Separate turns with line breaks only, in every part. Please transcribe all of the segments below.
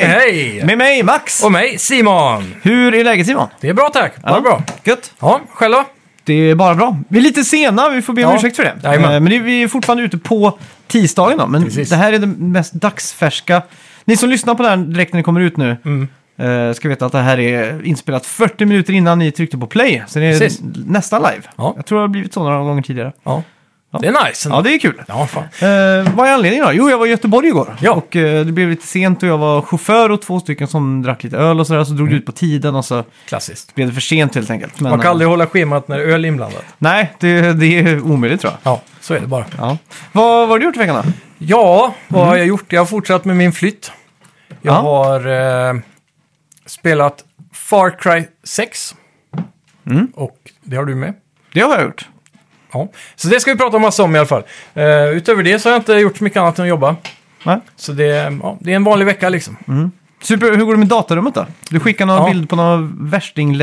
Hej!
Med mig, Max!
Och mig, Simon.
Hur är läget Simon?
Det är bra tack. Bara bra.
Gött.
Ja, själv då?
Det är bara bra. Vi är lite sena, vi får be om
Ja.
ursäkt för det.
Jajamän.
Eh, Men det- vi är fortfarande ute på tisdagen då. Men
Precis.
det här är det mest dagsfärska. Ni som lyssnar på det här direkt när det kommer ut nu
Mm.
eh, ska veta att det här är inspelat 40 minuter innan ni tryckte på play. Så det är
Precis.
nästan live.
Ja. Mm.
Jag tror det har blivit så några gånger tidigare.
Ja. Det är nice.
Ja,
ändå.
det är kul.
ja fan.
Eh, vad är anledningen då? Jo, jag var i Göteborg igår.
Ja.
Och eh, det blev lite sent och jag var chaufför och två stycken som drack lite öl och sådär. Så
Mm.
drog det ut på tiden och så
Klassiskt.
blev det för sent helt enkelt. Men,
Man kan
eh,
aldrig hålla schemat när öl är inblandat.
Nej, det, det är omöjligt tror jag.
Ja, så är det bara.
Ja. Vad, vad har du gjort i veckan då?
Ja, vad har jag gjort? Jag har fortsatt med min flytt. Jag
Ja.
har eh, spelat Far Cry 6. Och det har du med.
Det har jag gjort.
Ja. Så det ska vi prata massa om i alla fall. Eh, utöver det så har jag inte gjort så mycket annat än att jobba.
Nej.
Så det, ja, det är en vanlig vecka liksom.
Super, hur går det med datarummet då? Du skickar några
Ja.
bild på några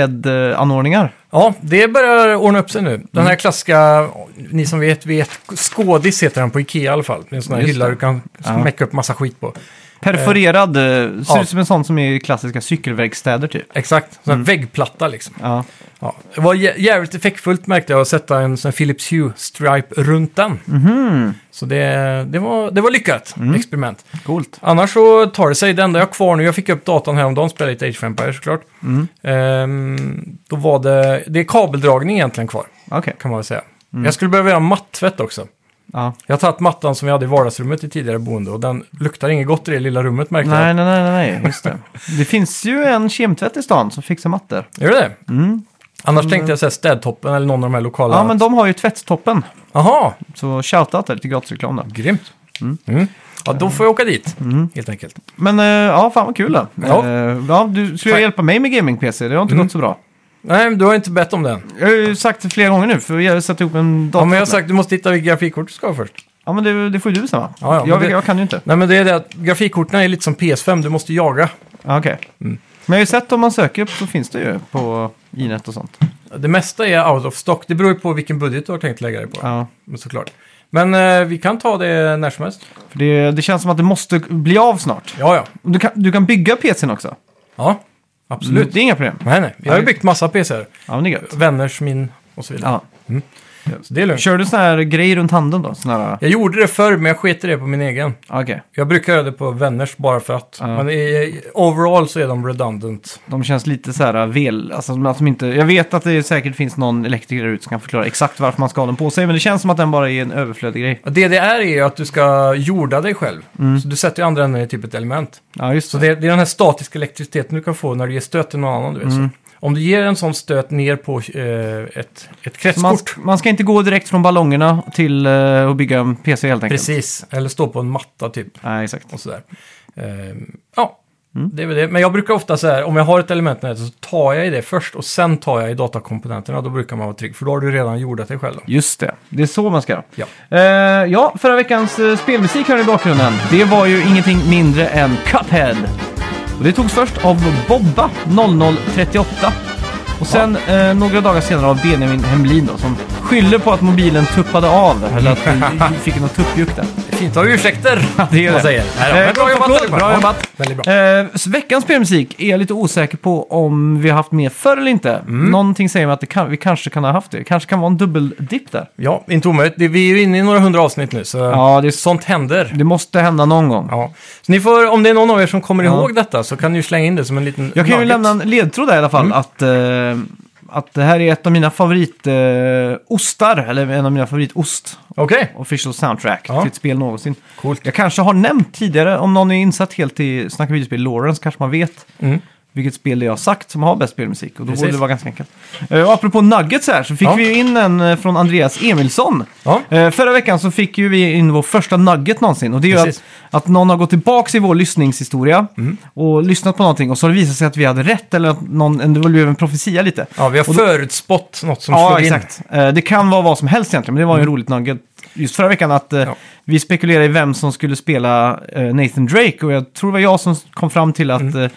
värsting-LED-anordningar.
Ja, det börjar ordna upp sig nu.
Mm.
Den här klassiska, ni som vet, vet Skådis heter den på Ikea i alla fall. Det är en sån här
Just
hylla
det.
du kan smäcka upp massa skit på.
Perforerad, eh, ser
ja.
ut som en sån som är i klassiska cykelverkstäder typ.
Exakt, sån här väggplatta liksom.
Ja.
Ja. Det var jä- jävligt effektfullt märkte jag att sätta en sån här Philips Hue-stripe runt den.
Mm.
Så det, det, var, det var lyckat experiment.
Coolt.
Annars så tar det sig. Det enda jag har kvar nu, jag fick upp datan häromdagen och spelade lite Age of Empires såklart.
Mm.
Ehm, då var det, det är kabeldragning egentligen kvar,
Okej.
kan man väl säga.
Mm.
Jag skulle behöva göra mattvätt också.
Ja.
Jag har tagit mattan som vi hade i vardagsrummet i tidigare boende och den luktar inget gott i det lilla rummet märkte
Nej, nej, nej, nej, nej, just det. Det finns ju en kemtvätt i stan som fixar mattor.
jag. Är det det? Annars tänkte jag säga städtoppen eller någon av de här lokala.
Mm. Ja, men de har ju tvättstoppen.
Aha,
Så shoutout där till gratisreklam då.
grymt. Mm. Ja, då får jag åka dit,
Mm.
helt enkelt.
Men eh, ja, fan vad kul då.
Ja. Mm.
Eh, ja, du skulle
Fan.
hjälpa mig med gaming-PC, det har inte gått så bra.
Nej, men du har inte bett om den.
Jag har ju sagt det flera gånger nu, för jag har satt ihop en dator.
Ja, men jag har sagt att du måste hitta vilket grafikkort du ska ha först.
Ja, men det, det får ju du bestämma.
Ja, ja, men
jag,
det-
jag kan ju inte.
Nej, men det är det att grafikkorten är lite som PS5, du måste jaga.
Ja, okej.
Mm.
Men jag har ju sett om man söker så finns det ju på Inet och sånt.
Det mesta är out of stock, det beror ju på vilken budget du har tänkt lägga dig på.
Ja.
Men såklart. Men eh, vi kan ta det när som helst.
För det, det känns som att det måste bli av snart.
Ja, ja.
Du kan, du kan bygga PCn också.
Ja, absolut.
Det är inga problem.
Nej, nej. Jag har ju byggt massa PCer.
Ja, men det är gött.
Vänners, min och så vidare.
Ja.
Så det är lugnt.
Kör du sån här grej runt handen då? Sån här...
Jag gjorde det förr, men jag sket i det på min egen.
Okej,
Jag brukar göra det på vänners bara för att.
Ja.
Men i, overall så är de redundant.
de känns lite så här vel... Alltså, att de inte... Jag vet att det säkert finns någon elektriker där ute som kan förklara exakt varför man ska ha den på sig, men det känns som att den bara är en överflödig grej.
Och DDR är ju att du ska jorda dig själv.
Mm.
Så du sätter ju andra änden i typ ett element.
Ja, just
Så det, det är den här statiska elektriciteten du kan få när du ger stöt till någon annan. Du vet, så. Om du ger en sån stöt ner på eh, ett, ett kretskort.
Man, man ska inte gå direkt från ballongerna till eh, att bygga en PC helt enkelt.
Precis, eller stå på en matta typ.
Nej, exakt.
och sådär. Ehm, ja, det är väl det. Men jag brukar ofta så här, om jag har ett element i nätet så tar jag i det först och sen tar jag i datakomponenterna. Då brukar man vara trygg, för då har du redan jordat dig själv. Då.
Just det, det är så man ska göra.
Ja.
Eh, ja, förra veckans eh, spelmusik hör ni i bakgrunden. Det var ju ingenting mindre än Cuphead. Och det togs först av Bobba 0038. Och sen eh, några dagar senare av Benjamin Hemlin då, som skyller på att mobilen tuppade av. Eller att vi fick något tuppjuck där.
Fint att ha ursäkter,
det är
man
det.
säger. Nej, då,
Eh,
men bra
gott,
jobbat,
gott,
allihopa.
bra
Ja,
jobbat.
Väldigt bra.
Eh, så veckans spelmusik är jag lite osäker på om vi har haft med förr eller inte. Någonting säger mig att det kan, vi kanske kan ha haft det. Det kanske kan vara en dubbeldipp där.
Ja, inte omöjligt. Det- Vi är ju inne i några hundra avsnitt nu, så
Ja, det är
sånt händer.
Det måste hända någon gång.
Ja. Så ni får, om det är någon av er som kommer
Ja.
ihåg detta så kan ni ju slänga in det som en liten
Jag kan ju
nugget. Mm.
lämna en ledtråd där i alla fall. Att, eh, att det här är ett av mina favoritostar. Eh, ostar, eller en av mina favoritost.
Okej,
Official soundtrack
Ja.
till ett spel någonsin.
coolt.
Jag kanske har nämnt tidigare, om någon är insatt helt i Snacka videospel Lawrence kanske man vet
Mm.
vilket spel det jag har sagt som har bäst spelmusik. Och då borde
Precis.
det vara ganska enkelt. Eh, och apropå nuggets här så fick
Ja.
vi ju in en eh, från Andreas Emilsson.
Ja.
Eh, förra veckan så fick ju vi in vår första nugget någonsin. Och det är ju att,
Precis. Mm.
att någon har gått tillbaka i vår lyssningshistoria och lyssnat på någonting och så har det visat sig att vi hade rätt eller att någon, det blev en profetia lite.
Ja, vi har förutspått något som
Ja,
slog in. Mm.
exakt. Eh, Det kan vara vad som helst egentligen, men det var ju roligt nugget just förra veckan att eh,
Ja.
vi spekulerade i vem som skulle spela eh, Nathan Drake och jag tror det var jag som kom fram till att,
Mm.
eh,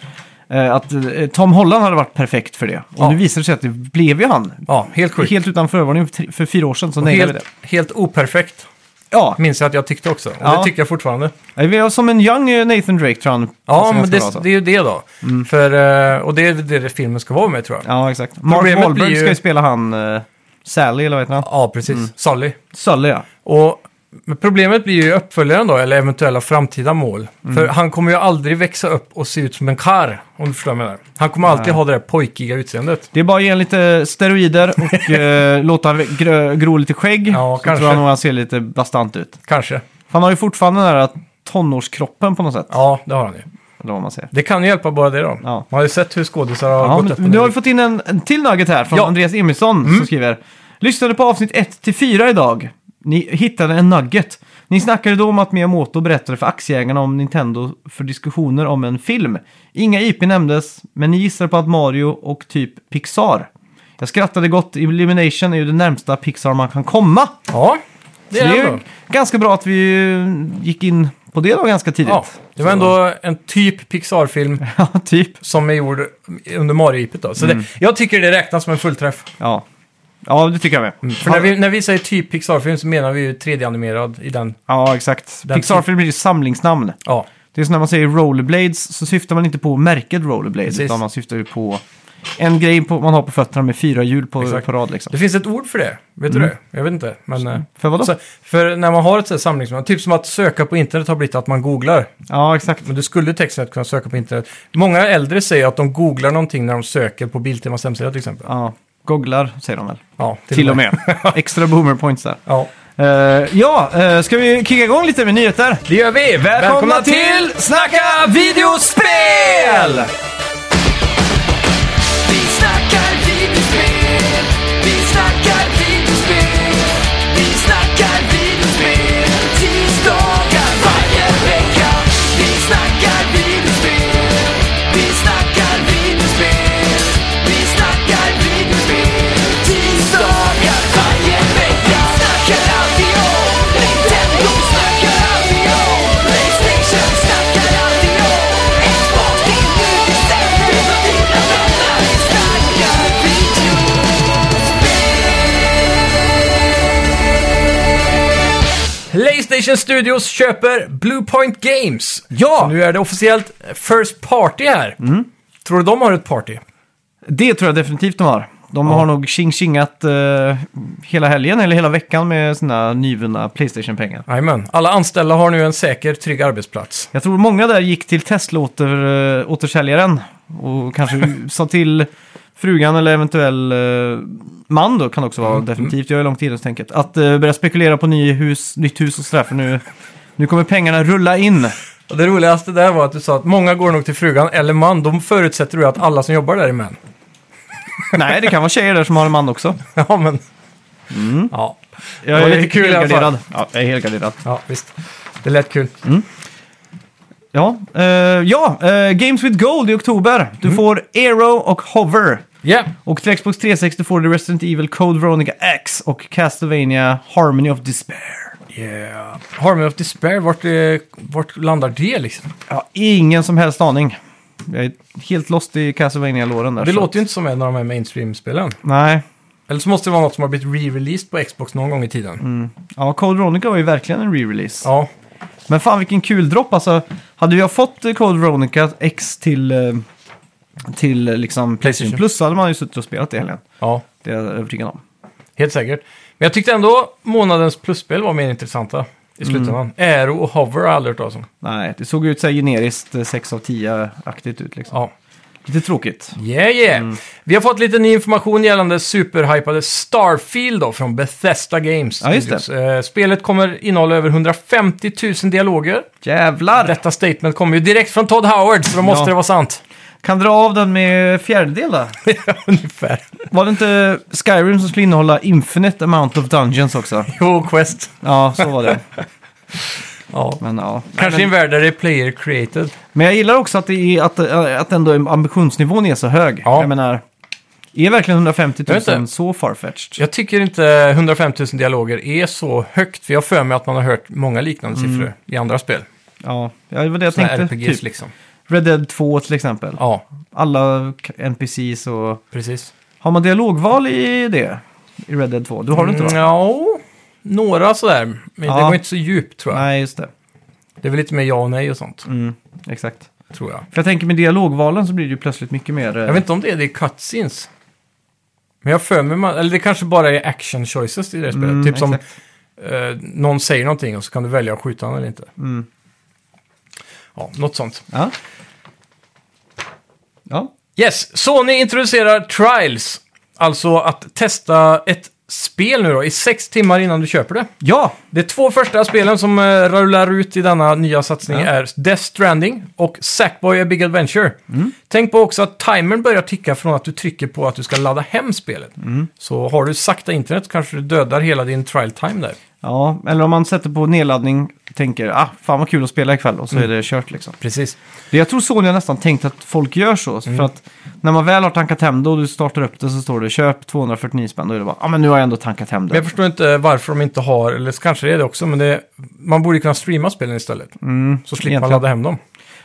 eh, att eh, Tom Holland hade varit perfekt för det. Och
Ja.
nu visar det sig att det blev ju han.
Ja, helt sjukt.
Helt utan förvarning för, tre- för fyra år sedan så nailade vi
Helt,
det.
helt operfekt.
Ja,
Minns jag att jag tyckte också. Och
Ja.
det tycker jag fortfarande.
Nej, vi har som en young eh, Nathan Drake tror han.
Ja,
som jag
men
ska
det,
vara, alltså.
det är ju det då. För, eh, och det är det, det filmen ska vara med tror jag. Ja,
Ja, exakt. Mark
Problemet
Wahlberg
blir ju-
ska ju spela han eh, Sally, eller vad heter han?
precis.
Mm.
Sully.
Sully, ja.
Och men problemet blir ju uppföljaren då, eller eventuella framtida mål.
Mm.
För han kommer ju aldrig växa upp och se ut som en karl, om du förstår vad jag menar. Han kommer alltid ha det där pojkiga utseendet.
Det är bara att ge en lite steroider och eh, låta han grö, gro lite skägg.
Ja,
så
kanske.
tror jag nog han ser lite bastant ut.
Kanske.
För Han har ju fortfarande den där tonårskroppen på något sätt.
Ja, det har han ju.
Eller vad man säger.
Det kan ju hjälpa bara det då.
Ja.
Man har ju sett hur skådisar har
Ja,
gått upp
men, nu har vi fått in en, en till nugget här från
Ja. Mm.
Andreas Emilsson som skriver. Lyssnade på avsnitt 1-4 idag. Ni hittade en nugget. Ni snackade då om att Miyamoto berättade för aktieägarna om Nintendo för diskussioner om en film. Inga IP nämndes, men ni gissade på att Mario och typ Pixar. Jag skrattade gott. Elimination är ju det närmsta Pixar man kan komma.
Ja, det
Så
är
det är
ändå.
ju ganska bra att vi eh, gick in på det då ganska tidigt.
Ja, det var
Så-
ändå en typ Pixar-film
Ja, typ.
som är gjord under Mario-ipet då. Så
Mm.
det, jag tycker det räknas som en fullträff.
Ja. ja, det tycker jag med.
Mm, För när vi, när vi säger typ Pixar-film så menar vi ju 3D-animerad i den.
Ja, exakt.
Den
Pixar-film blir ju samlingsnamn.
Ja,
Det är som när man säger rollerblades så syftar man inte på märket rollerblades
Precis.
utan man syftar ju på en grej på, man har på fötterna med fyra hjul på,
Exakt.
på rad liksom.
det finns ett ord för det. Vet du det? Jag vet inte. Men, eh,
För Mm. vadå?
så, för när man har ett sånt här samlingsnamn, typ som att söka på internet har blivit att man googlar.
Ja, exakt.
Men du skulle texten kunna söka på internet. Många äldre säger att de googlar någonting när de söker på Biltemas hemsida till exempel.
Ja, gogglar säger de väl.
Ja,
Till, och med. Extra boomer points där.
Ja,
Eh, ja, eh, ska vi kicka igång lite med nyheter?
det gör vi! Välkomna, till!
Snacka videospel!
Vi snackar videospel, vi snackar videospel, vi snackar videospel tisdagar varje vecka. Vi snackar videospel, vi snackar videospel, vi snackar videospel tisdagar varje vecka. Snackar alltid om Nintendo, snackar alltid om Playstation, snackar alltid om Xbox, det är nu vi sätter oss och tittar vänner. Vi snackar video.
Playstation Studios köper Bluepoint Games.
Ja!
Så nu är det officiellt First Party här. Tror du de har ett party?
Det tror jag definitivt de har. De har nog tjing-tjingat eh, hela helgen eller hela veckan med sina nyvunna Playstation-pengar.
Jajamän. Alla anställda har nu en säker, trygg arbetsplats.
Jag tror många där gick till Tesla-återsäljaren och kanske sa till frugan eller eventuell eh, man då, kan det också vara
Mm.
definitivt, jag är långt inne så tänket, att eh, börja spekulera på ny hus, nytt hus och sådär för nu, nu kommer pengarna rulla in.
Och det roligaste där var att du sa att många går nog till frugan eller man. Då förutsätter du att alla som jobbar där är män.
Nej, det kan vara tjejer där som har en man också.
ja, men... Ja.
Jag
var lite kul i alla fall.
helgarderad. Ja, jag är helgarderad.
ja, visst. Det lät kul.
Ja, eh, ja eh, Games with Gold i oktober. Du
Mm.
får Aero och Hover.
Yeah.
Och till Xbox 360 får du Resident Evil Code Veronica X och Castlevania Harmony of Despair.
yeah. Harmony of Despair, vart, eh, vart landar det liksom?
Jag har ingen som helst aning. Jag är helt lost i Castlevania-låren där.
Det
så-
låter ju inte som en av de här mainstream-spelen.
Nej.
Eller så måste det vara något som har blivit re-released på Xbox någon gång i tiden.
Mm. Ja, Code Veronica var ju verkligen en re-release.
Ja,
Men fan vilken kul dropp alltså. Hade jag fått eh, Code Veronica X till, eh, till eh, liksom Playstation
PlayStation.
Plus så hade man ju suttit och spelat det helgen.
ja,
Det är jag övertygad om.
helt säkert. Men jag tyckte ändå månadens plusspel var mer intressanta i slutändan.
Mm.
Aero och Hover har jag aldrig hört talas om.
Nej, det såg ut så här generiskt eh, 6 av 10-aktigt ut liksom.
Ja.
Lite tråkigt.
Yeah, yeah.
Mm.
Vi har fått lite ny information gällande superhypade Starfield då, från Bethesda Games.
Ja, just det.
Studios. Eh, Spelet kommer innehålla över 150 000 dialoger.
Jävlar!
Detta statement kommer ju direkt från Todd Howard, så då måste
Ja.
det vara sant.
Kan dra av den med fjärdedel då.
Ungefär.
Var det inte Skyrim som skulle innehålla infinite amount of dungeons också?
Jo, Quest.
Ja, så var det.
Ja.
Men ja.
Kanske i en värld där det är player created.
Men jag gillar också att, det är, att, eh, att ändå ambitionsnivån är så hög.
Ja.
Jag menar, är verkligen 150
Jag vet
000
inte.
så farfetched?
Jag tycker inte 105 000 dialoger är så högt, för jag har för mig att man har hört många liknande siffror i andra spel.
Ja, ja, det var det Mm. jag
Såna
tänkte.
RPGs
typ.
liksom.
Red Dead 2 till exempel.
Ja,
Alla k- NPCs och...
precis.
Har man dialogval i det? I Red Dead 2? Du har det inte va?
Mm, Ja, några sådär, men det
Ja.
var inte så djupt tror jag.
Nej, just det.
Det är väl lite mer ja och nej och sånt,
Mm, exakt.
tror jag.
För jag tänker med dialogvalen så blir det ju plötsligt mycket mer... eh,
Jag vet inte om det är det i cutscenes. Men jag har för mig, man- eller det kanske bara är action choices i det spelet.
Mm,
typ som
exakt.
eh, någon säger någonting och så kan du välja att skjuta honom eller inte.
Mm.
Ja, något sånt.
Ja. Ja.
Yes, Sony introducerar Trials. Alltså att testa ett spel nu då i sex timmar innan du köper det.
Ja!
De två första spelen som eh, rullar ut i denna nya satsning
Ja.
är Death Stranding och Sackboy A Big Adventure.
Mm.
Tänk på också att timern börjar ticka från att du trycker på att du ska ladda hem spelet.
Mm.
Så har du sakta internet så kanske du dödar hela din trial time där.
Ja, eller om man sätter på nedladdning tänker ah, fan vad kul att spela ikväll och så
Mm.
är det kört liksom.
Precis.
Det jag tror Sony har nästan tänkt att folk gör så. För
Mm.
att när man väl har tankat hem det och du startar upp det så står det köp 249 spänn. Då är det bara, ja ah, men nu har jag ändå tankat hem
Men jag
det.
förstår inte varför de inte har, eller så kanske det är det också, men det, man borde kunna streama spelen istället. så slipper man
Mm, egentligen.
ladda hem dem.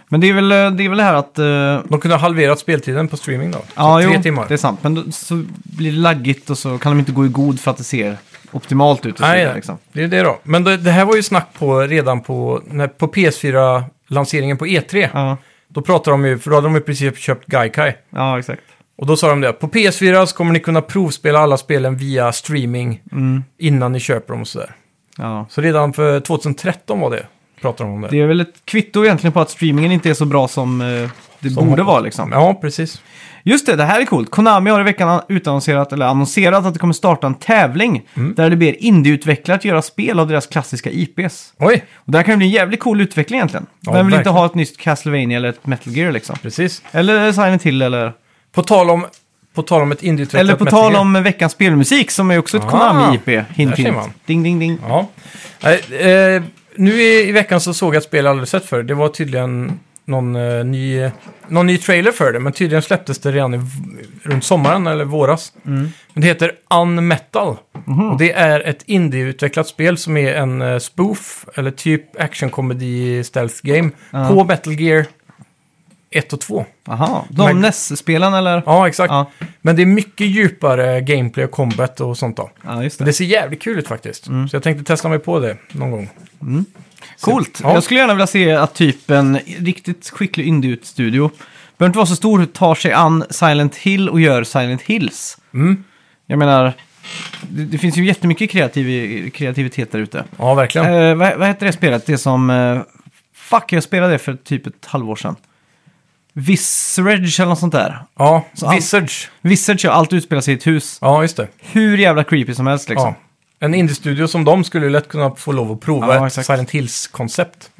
Men det är väl eh, det, är väl det här att... eh,
De kunde ha halverat speltiden på streaming då. Så
ja,
tre
jo,
timmar.
det är sant. Men då, så blir det laggigt och så kan de inte gå i god för att det ser optimalt ut. Och så
Nej,
vidare,
nej.
liksom.
det är det då. Men det, det här var ju snack på redan på, när, på PS4-lanseringen på E3.
ja,
Då pratade de ju, för då hade de i princip köpt Gaikai.
ja, exakt.
Och då sa de det, att på PS4 så kommer ni kunna provspela alla spelen via streaming
Mm,
innan ni köper dem och sådär.
ja.
Så redan för 2013 var det, pratade de om det.
Det är väl ett kvitto egentligen på att streamingen inte är så bra som eh, det
Som
borde
hoppas.
vara liksom.
Ja, precis.
Just det, det här är coolt. Konami har i veckan an- utannonserat, eller annonserat att det kommer starta en tävling
Mm.
där det ber indieutvecklare att göra spel av deras klassiska IPs.
Oj,
Och det här kan ju bli en jävligt cool utveckling egentligen.
Ja,
Vem vill inte
verkligen.
ha ett nytt Castlevania eller ett Metal Gear liksom?
precis.
Eller Silent Hill eller...
På tal om, på tal om ett indieutvecklat
Eller på
Metal
tal
Gear.
om veckans spelmusik som är också ett
Ah,
Konami-IP. Hint,
ser
hint.
man.
Ding, ding, ding.
Ja. Nej, Eh, nu i, i veckan så såg jag ett spel jag aldrig sett för. Det var tydligen någon, eh, ny, någon ny trailer för det, men tydligen släpptes det redan i, v- runt sommaren eller våras.
Mm.
Men det heter Unmetal.
Mhm.
Och det är ett indieutvecklat spel som är en eh, spoof, eller typ actionkomedi stealth game,
Ja.
på Metal Gear 1 och 2.
Aha. De
Men-
NES-spelen eller?
Ja, exakt.
Ja.
Men det är mycket djupare gameplay och combat och sånt då.
ja, just
Men
det.
Det ser jävligt kul ut faktiskt.
Mm.
Så jag tänkte testa mig på det någon gång.
Coolt.
Ja.
Jag skulle gärna vilja se att typ en riktigt skicklig indie-studio behöver inte vara så stor, tar sig an Silent Hill och gör Silent Hills.
Mm.
Jag menar, det, det finns ju jättemycket kreativ, kreativitet där ute.
Ja, verkligen.
Eh, vad, vad heter det spelet? Det som... Eh, fuck, jag spelade det för typ ett halvår sedan. Viscerage eller något sånt där.
Ja,
allt-
Wizards.
Viscerage, ja, allt utspelar sig i ett hus.
Ja, just det.
Hur jävla creepy som helst liksom.
Ja. En indiestudio som de skulle ju lätt kunna få lov att prova
Ja,
ett
exakt.
Silent Hills-koncept.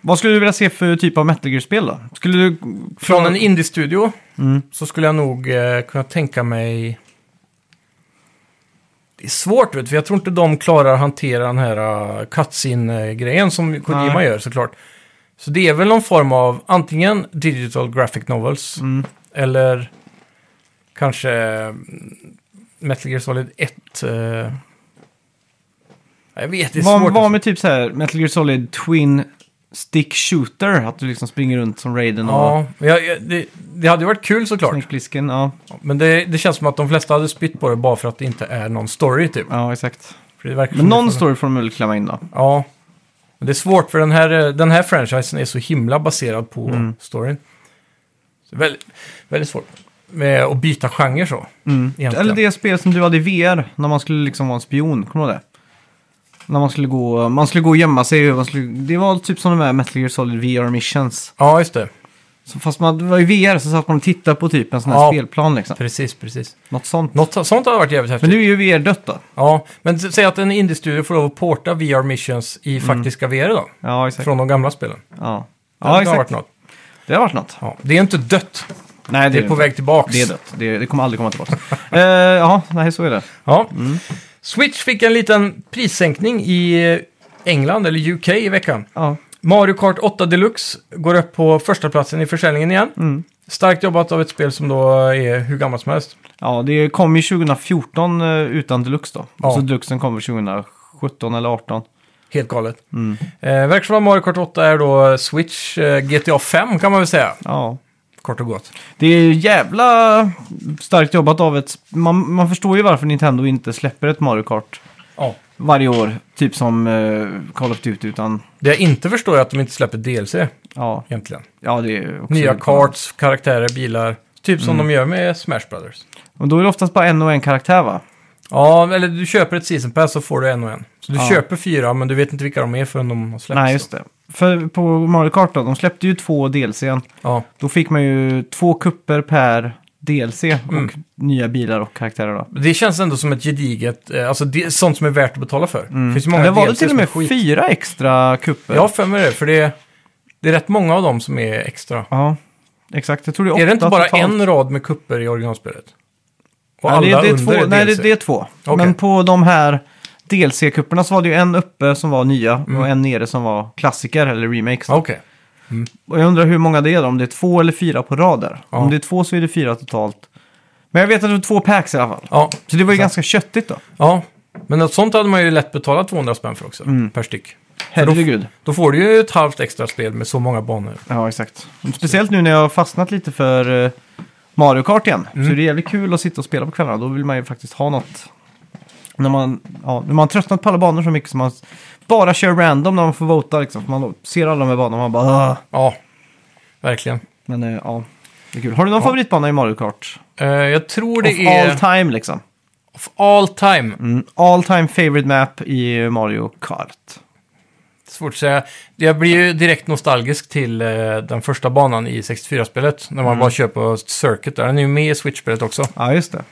Vad skulle du vilja se för typ av Metal Gear-spel då? Skulle du...
Från en indiestudio
Mm.
så skulle jag nog eh, kunna tänka mig... Det är svårt, vet, du, för jag tror inte de klarar att hantera den här uh, cutscene-grejen som Kojima
Nej.
gör såklart. Så det är väl någon form av antingen digital graphic novels
Mm.
eller kanske mm, Metal Gear Solid 1. eh, Jag vet, det är
Vad
svårt.
vad med typ så här Metal Gear Solid Twin Stick Shooter? Att du liksom springer runt som Raiden och
Ja, men jag, jag, det, det hade ju varit kul såklart.
Snake Plissken. Ja,
Men det, det känns som att de flesta hade spytt på det bara för att det inte är någon story typ.
ja, exakt.
För det verkar
Men
som
någon
det-
story får de väl klämma in då.
Ja. Men det är svårt för den här, eh, den här franchisen är så himla baserad på
Mm.
storyn. Så väldigt, väldigt svårt med att byta genre så. egentligen.
Mm. Eller det spel som du hade i VR när man skulle liksom vara en spion, kommer du ihåg det? När man skulle gå, man skulle gå och gömma sig. och Man skulle, det var typ som de här Metal Gear Solid VR Missions.
Ja, just det.
Så fast man det var i VR så satt man och tittade på typ en sån här
Ja.
spelplan liksom.
Precis, precis.
Något sånt.
Något sånt hade varit jävligt häftigt.
Men nu är ju VR dött då.
Ja, men s- säg att en indie-studio får lov att porta VR missions i faktiska VR då.
Ja, exakt.
Från de gamla spelen. Det
Mm. Ja, ja
hade varit
exakt.
något.
Det har varit något.
Ja. Det är inte dött,
Nej,
det är på väg tillbaks.
Det är dött. Det, det kommer aldrig komma tillbaka. Eh, ja, nej så är det.
Ja. Switch fick en liten prissänkning i eh, England, eller UK, i veckan.
Ja.
Mario Kart 8 Deluxe går upp på första platsen i försäljningen igen.
Mm.
Starkt jobbat av ett spel som då är hur gammalt som helst.
ja, det kom ju 2014 eh, utan Deluxe då.
Ja.
Och så Deluxen kommer 2017 eller 18.
Helt galet. Eh, verkar som att Mario Kart 8 är då Switch eh, GTA 5 kan man väl säga.
Ja.
Kort och gott.
Det är ju jävla starkt jobbat av ett... Man, man förstår ju varför Nintendo inte släpper ett Mario Kart
Ja.
varje år. Typ som eh, Call of Duty, utan
Det jag inte förstår är att de inte släpper DLC
ja,
egentligen.
ja det är också...
Nya karts, karaktärer, bilar. Typ som de gör med Smash Brothers.
Och då är det oftast bara en och en karaktär va?
Ja, eller du köper ett season pass så får du en och en. Så du
Ja.
köper fyra, men du vet inte vilka de är förrän de har släppts.
Nej, just det. För på Mario Kart då, de släppte ju två DLCn.
Ja,
Då fick man ju två kupper per DLC
Mm.
och nya bilar och karaktärer då.
det känns ändå som ett gediget, eh, alltså det, sånt som är värt att betala för. Det finns ju många
Det Mm. var det
DLC
till och
som är
med
skit.
fyra extra kupper.
Jag har för mig det, för det är, det är rätt många av dem som är extra.
Ja, exakt. Jag tror det är åtta
Är det inte bara
totalt.
en rad med kupper i originalspelet? Och
Nej,
alla
det, det är
under
två,
är
Nej, det,
DLC.
det är två.
Okej.
Men på de här DLC-kupperna så var det ju en uppe som var nya och en nere som var klassiker eller remakes.
Mm. Ja, Okej.
Och jag undrar hur många det är då, om det är två eller fyra på rad där.
Ja.
Om det är två så är det fyra totalt. Men jag vet att det var två packs i alla fall.
Ja,
Så det var ju ganska köttigt då.
ja, men något sånt hade man ju lätt betalat 200 spänn för också, per styck. För då,
Mm. Herregud.
då får du ju ett halvt extra spel med så många banor.
Ja, exakt. Speciellt nu när jag har fastnat lite för eh, Mario Kart igen. Så
Mm.
det är jävligt kul att sitta och spela på kvällarna. Då vill man ju faktiskt ha något. När man, ja, när man har tröttnat på alla banor så mycket som man bara kör random när man får vota. Liksom. För Man då ser alla de här banorna och man bara... "Åh."
Ja, verkligen.
Men eh, ja, det är kul. Har du någon favoritbana i Mario Kart?
Eh, jag tror det
of
är...
all time liksom.
Of all time.
Mm, all time favorite map i Mario Kart.
Svårt att säga. Jag blir ju direkt nostalgisk till eh, den första banan i 64-spelet. När man
Mm.
bara kör på Circuit där. Den är ju med i Switch-spelet också.
Ja, just det.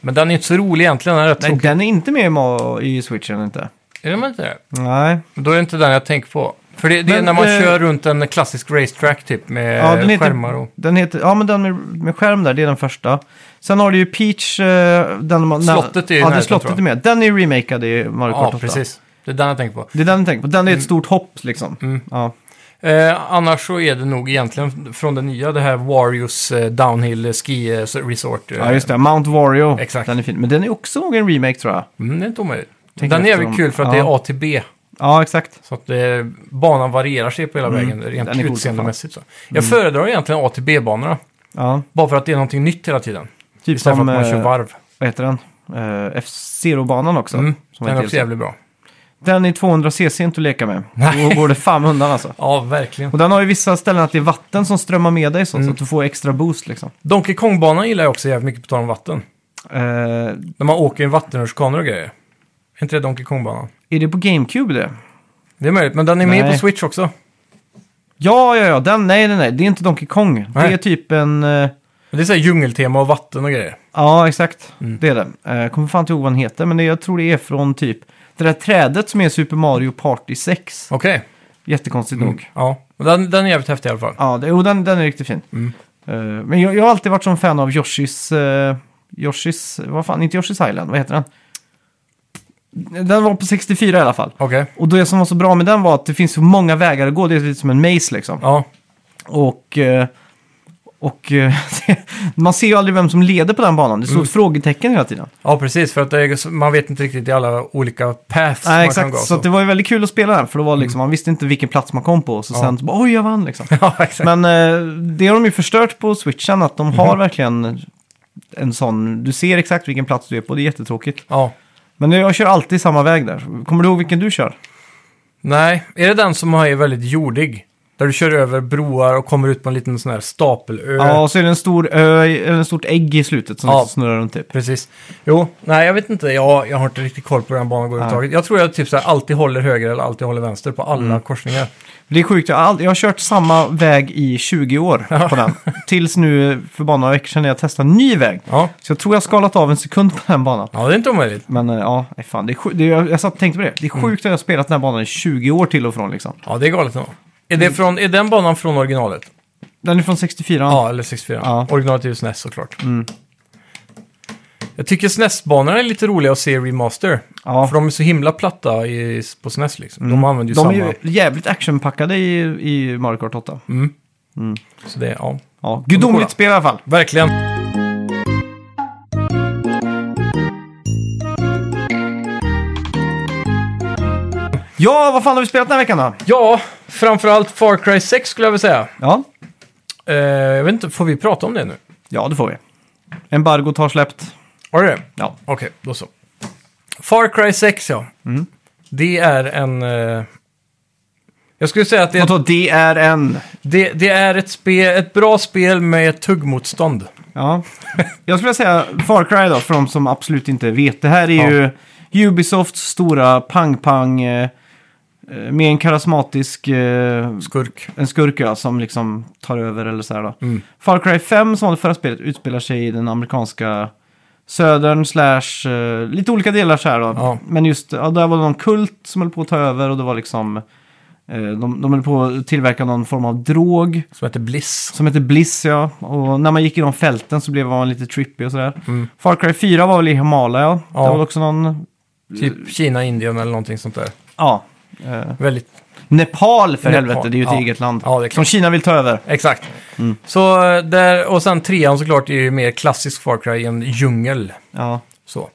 Men den är inte så rolig egentligen. Den är rätt
Nej,
tråkig.
den är inte med i, Ma- i Switchen inte.
Är den inte det?
Nej.
Då är det inte den jag tänker på. För det, det är
Men,
när man
eh,
kör runt en klassisk racetrack typ med
Ja, den heter,
skärmar och...
Den heter, ja, men den med, med skärm där, det är den första. Sen har du ju Peach. eh, Den, man- när-
Slottet är ju i
Ja, det
närheten,
slottet
tror jag.
är med. Den är remakad i Mario Kart
Ja,
8.
precis. Mm. Det är den jag tänker på.
Det är den jag tänker på. Den är ett stort hopp liksom.
Mm.
Ja.
Eh, annars så är det nog egentligen från det nya, det här Warriors eh, Downhill Ski eh, Resort. eh.
ja, just det. Mount Wario.
Exakt.
Den är fin. Men den är också nog en remake tror jag.
Mm, det är inte omöjligt.
Tänker
Den är
efter
jävligt
om-
kul för att
ja.
det är ATB.
Ja, exakt.
Så att eh, banan varierar sig på hela vägen rent
Mm. Den är cool som
utseendemäskt. så.
Mm.
Jag föredrar egentligen A till B-banorna.
Ja. Typ
Bara för att det är någonting nytt hela tiden.
Istället
Istället för
som,
att man kör
eh,
varv.
vad heter den? Eh, F-Zero-banan också.
Mm.
Som
Den
heter
är också jävligt bra.
den är 200cc inte att leka med.
Nej.
Då går det fan undan alltså.
Ja, verkligen.
Och den har ju vissa ställen att det är vatten som strömmar med dig så,
Mm.
så att du får extra boost liksom.
Donkey Kong-banan gillar jag också jävligt mycket på tal om vatten.
Eh,
När man åker i vattenrutschkanor och grejer. Är inte det Donkey Kong-banan?
Är det på GameCube det?
Det är möjligt, men den är med
Nej.
på Switch också.
Ja, ja, ja. Den, nej, nej, nej. Det är inte Donkey Kong.
Nej.
Det är typ en... eh,
Men det är så här djungeltema och vatten och grejer.
ja, exakt. Det är det. Eh, Jag kommer fan inte ihåg vad den heter, men det, jag tror det är från typ... Det där trädet som är Super Mario Party 6.
Okej.
Jättekonstigt
Mm.
nog.
Ja. Och Den, den är jävligt häftig i alla fall.
Ja, det, jo, den, den är riktigt fin. Eh, men jag, jag har alltid varit som fan av Yoshis... eh, Yoshis... Vad fan, inte Yoshis Island, vad heter den? Den var på 64 i alla fall.
Okej.
Och det som var så bra med den var att det finns så många vägar att gå. Det är lite som en maze liksom.
Ja.
Och, eh, och eh, man ser ju aldrig vem som leder på den banan. Det står
Mm.
ett frågetecken hela tiden.
ja, precis. För att det är, så- man vet inte riktigt i alla olika paths man
Nej,
kan
exakt.
gå. Mm.
Så att det var ju väldigt kul att spela den. För det var liksom, man visste inte vilken plats man kom på. Så
Ja.
sen så bara, oj, jag vann liksom.
ja, exakt.
Men eh, det har de ju förstört på switchen. Att de har
Mhm.
verkligen en sån, du ser exakt vilken plats du är på. Det är jättetråkigt.
Ja.
Men jag kör alltid samma väg där. Kommer du ihåg vilken du kör?
Nej, är det den som är väldigt jordig? Där du kör över broar och kommer ut på en liten sån här stapelö.
Ja, och så är det en stor ö, eller en stort ägg i slutet som
Eh. Ja.
snurrar runt typ.
Precis. Jo, nej jag vet inte. Jag, jag har inte riktigt koll på den banan överhuvudtaget. Jag tror jag typ så här, alltid håller höger eller alltid håller vänster på alla
Mm.
korsningar.
Det är sjukt, jag har, aldrig, jag har kört samma väg i 20 år på den. Tills nu för bara några veckor sedan när jag testade en ny väg.
Ja.
Så jag tror jag har skalat av en sekund på den banan.
ja, det är inte omöjligt.
Men eh, ja, nej fan, det är sjukt. Det är, jag jag satt och tänkte på det. Det är sjukt att jag har spelat den här banan i 20 år till och från liksom.
Ja, det är galet nog. Är,
Mm.
det från, är den banan från originalet?
Den är från 64.
Ja, eller 64.
Ja. Mm.
Originalet är ju SNES såklart. Jag tycker SNES-banorna är lite roliga att se i remaster.
Ja. Mm.
För de är så himla platta i, på SNES liksom. De använder ju
De är
samma.
ju jävligt actionpackade i, i Mario Kart 8.
Så det, ja.
Ja, Mm. gudomligt spel i alla fall.
Verkligen.
Ja, vad fan har vi spelat den här veckan då?
Ja, framförallt Far Cry 6 skulle jag vilja säga.
Ja,
Eh, jag vet inte, får vi prata om det nu?
ja det får vi. Embargot har släppt.
Har du det?
Ja.
Okej, då så. Far Cry 6, ja. Det är en... eh, Jag skulle säga att det är,
Vadå, det är en...
det, det är ett, spe, ett bra spel med tuggmotstånd.
Ja. Jag skulle vilja säga Far Cry då, för de som absolut inte vet. Det här är
Ja.
ju Ubisofts stora pang-pang eh, eh, med en karismatisk eh,
Skurk.
en skurk ja, som liksom tar över eller så här då.
Mm.
Far Cry 5 som var det förra spelet utspelar sig i den amerikanska södern slash eh, lite olika delar så här då.
Ja.
Men just, ja, där var det någon kult som höll på att ta över och det var liksom eh, de, de höll på att tillverka någon form av drog
Som heter Bliss.
som heter Bliss ja. Och när man gick i de fälten så blev man lite trippy och sådär.
Mm.
Far Cry 4 var väl i Himalaya. Ja.
Ja.
Det var väl också någon,
Typ Kina, Indien eller någonting sånt där.
ja. Eh,
Väldigt
Nepal för
Nepal,
helvete, det är ju ett
ja.
eget land.
Ja, det är klart.
som Kina vill ta över.
Exakt. Så eh, där, och sen trean såklart är ju mer klassisk Far Cry i en djungel.
Ja.
Så.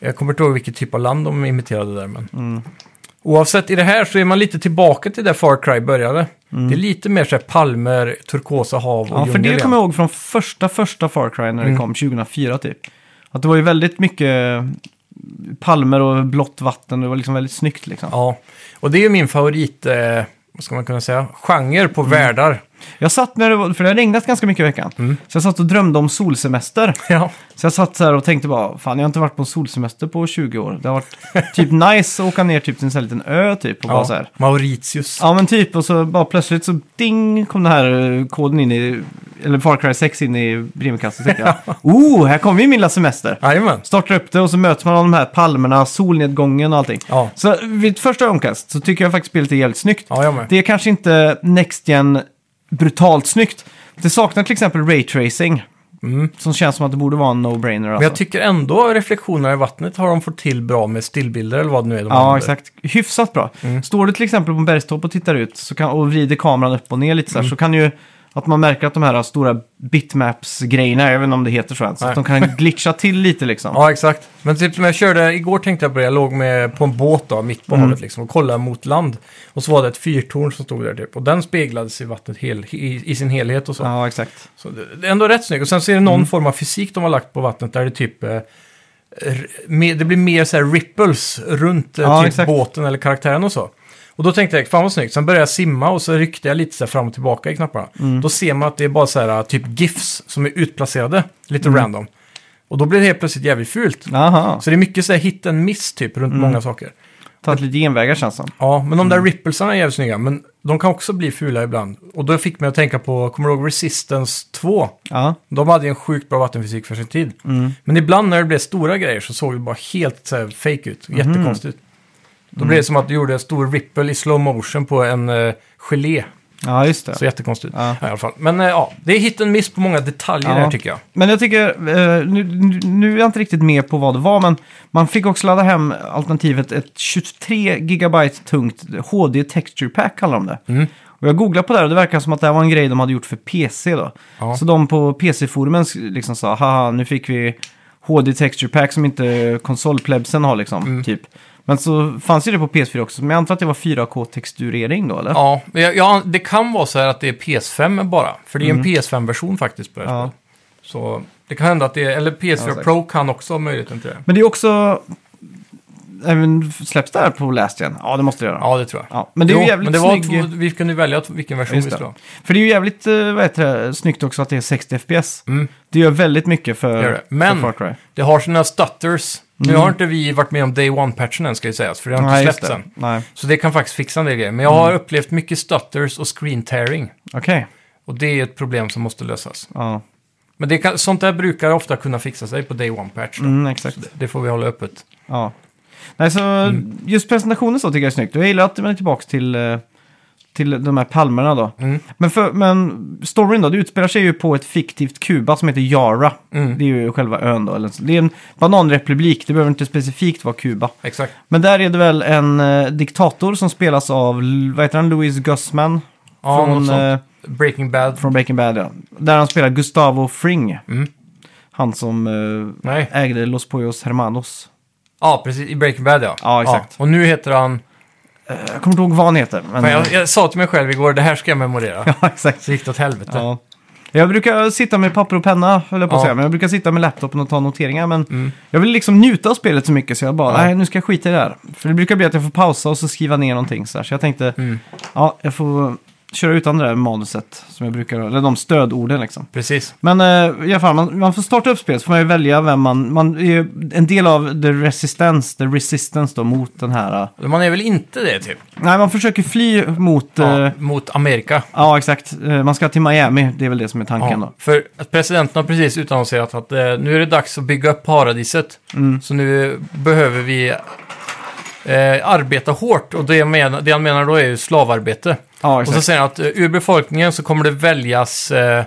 Jag kommer inte ihåg vilket typ av land de imiterade där. Men...
Mm.
Oavsett, i det här så är man lite tillbaka till där Far Cry började. Det är lite mer så här palmer, turkosa hav och
Mm. Ja, för
djungel.
det
igen.
kommer jag ihåg från första, första Far Cry när det
Mm.
kom, 2004 typ. Att det var ju väldigt mycket palmer och blått vatten, det var liksom väldigt snyggt liksom.
Ja, och det är ju min favorit, eh, vad ska man kunna säga, genre
Mm.
på världar.
Jag satt när det var, för det har regnat ganska mycket i veckan,
Mm.
så jag satt och drömde om solsemester.
Ja,
Så jag satt så här och tänkte bara, fan jag har inte varit på en solsemester på 20 år. Det har varit typ nice att åka ner typ till en sån här liten ö typ och bara
ja.
så här.
Mauritius.
Ja men typ, och så bara plötsligt så ding kom den här eh, koden in i, eller Far Cry 6 in i brevkassan. tänkte jag, oh, här kommer ju min lilla semester.
Jajamän.
startar upp det och så möts man av de här palmerna, solnedgången och allting.
Ja.
Så vid ett första ögonkast så tycker jag faktiskt spelet är jävligt snyggt.
Ja, jag med.
Det är kanske inte Next Gen brutalt snyggt. Det saknar till exempel Ray Tracing. Som känns som att det borde vara en no-brainer.
Mm. Men
Alltså.
jag tycker ändå reflektionerna i vattnet har de fått till bra med stillbilder eller vad det nu är de
Ja,
använder.
exakt. Hyfsat bra.
Mm.
Står du till exempel på en bergstopp och tittar ut så kan, och vrider kameran upp och ner lite så
Mm.
här, så kan ju att man märker att de här stora bitmaps-grejerna, även om det heter så, än, så
Nej.
att de kan glitcha till lite liksom.
Ja, exakt. Men typ som jag körde igår tänkte jag på det. Jag låg med, på en båt då, mitt
Mm.
på havet liksom, och kollade mot land. Och så var det ett fyrtorn som stod där typ. Och den speglades i vattnet hel, i, i sin helhet och så.
Ja, Mm. exakt.
Så det, det är ändå rätt snyggt. Och sen så är det någon form av fysik de har lagt på vattnet där det typ... Eh, r- mer- det blir mer så här ripples runt eh,
Ja,
typ
exakt.
båten eller karaktären och så. Och då tänkte jag, fan vad snyggt. Sen började jag simma och så ryckte jag lite så här fram och tillbaka i knapparna.
Mm.
Då ser man att det är bara så här typ GIFs som är utplacerade, lite
Mm.
random. Och då blir det helt plötsligt jävligt fult.
Aha,
Så det är mycket så här hit and miss typ
Mm.
runt många saker.
tagit lite genvägar känns som.
Ja, men de där
Mm.
ripplesarna är jävligt snygga. Men de kan också bli fula ibland. Och då fick mig att tänka på, kommer du ihåg Resistance 2?
Ja. mm.
De hade ju en sjukt bra vattenfysik för sin tid. Men ibland när det blev stora grejer så såg det bara helt så här, fake ut.
Mm.
Jättekonstigt. Då blev det som att du gjorde en stor ripple i slow motion på en uh, gelé.
ja, just det.
Så jättekonstigt.
Ja.
Ja, i alla fall. Men eh, ja, det är hit and miss på många detaljer
Ja.
här tycker jag.
Men jag tycker, eh, nu, nu- nu är jag inte riktigt med på vad det var, men man fick också ladda hem alternativet ett 23 gigabyte tungt HD Texture Pack kallar de det.
Mm.
Och jag googlade på det här och det verkar som att det här var en grej de hade gjort för PC då.
Ja.
Så de på PC-forumen sk- liksom sa, haha, nu fick vi HD Texture Pack som inte konsolplebsen har liksom,
Mm.
typ. Men så fanns ju det på PS4 också, men jag antar att det var 4K-texturering då, eller?
Ja, men jag- ja, det kan vara så här att det är PS5 bara. För det är en PS5-version faktiskt på det här
Mm. Ja.
spelet. Så det kan hända att det är, eller PS4
säkert.
Pro kan också ha möjligheten till det.
Men det är också, även släpps det här på Last Gen? Ja, det måste det göra.
Ja, det tror jag.
Ja, men det är ju
Jo,
jävligt
men det var
snygg-
två, Vi kunde ju välja t- vilken version vi
Just det.
skulle ha.
För det är ju jävligt eh, vad heter det, snyggt också att det är 60 FPS.
Mm.
Det gör väldigt mycket för,
Gör det. Men-
för Far Cry.
Det har sina stutters. Nu har inte vi varit med om Day One-patchen än, ska ju sägas, för det har inte
Mm. Nej, just
släppts
det. Mm.
än.
Nej,
Så det kan faktiskt fixa en del grejer. Men jag har upplevt mycket stutters och screen tearing.
okej.
Och det är ett problem som måste lösas.
Ja,
Men det kan, sånt där brukar ofta kunna fixa sig på Day One-patch. då.
mm, exakt.
Det får vi hålla öppet.
Ja. Nej, så
Mm.
just presentationen så tycker jag är snyggt. Och Jag gillar att man är tillbaka till, eh, till de här palmerna då.
Mm.
Men, för, men storyn då, det utspelar sig ju på ett fiktivt Kuba som heter Yara.
Mm.
Det är ju själva ön då. Eller, så- det är en bananrepublik, det behöver inte specifikt vara Kuba.
Exakt.
Men där är det väl en eh, diktator som spelas av, l- vad heter han, Louis Gussman?
Ja, något sånt.
eh,
Breaking Bad.
Från Breaking Bad, ja. Där han spelar Gustavo Fring.
Mm.
Han som eh,
Nej.
ägde Los Pollos Hermanos.
Ja, precis. I Breaking Bad, ja.
Ja, exakt.
Och nu heter han...
Jag kommer inte ihåg vad han heter. Men, eh,
Fan, jag, jag sa till mig själv igår, det här ska jag memorera.
ja, exakt.
Så gick det åt helvete.
Ja. Jag brukar sitta med papper och penna, höll jag på att
Ja.
säga. Men jag brukar sitta med laptopen och ta noteringar. Men
Mm.
jag vill liksom njuta av spelet så mycket så jag bara,
Ja.
nej nu ska jag skita i det här. För det brukar bli att jag får pausa och så skriva ner någonting så här. Så jag tänkte,
Mm.
ja, jag får köra utan det där manuset som jag brukar, eller de stödorden liksom.
Precis.
Men eh, i alla fall, man, man får starta upp spelet så får man ju välja vem man... Man är ju en del av the resistance, the resistance då mot den här... eh,
Man är väl inte det typ?
nej, man försöker fly mot... Ja,
Ja, mot Amerika.
ja exakt. Eh, man ska till Miami, det är väl det som är tanken
Ja, för att presidenten har precis utannonserat att eh, nu är det dags att bygga upp paradiset.
då. Mm.
Så nu behöver vi eh, arbeta hårt och det, men, det han menar då är ju slavarbete.
Ja,
Och så
exakt.
säger han att eh, ur befolkningen så kommer det väljas eh,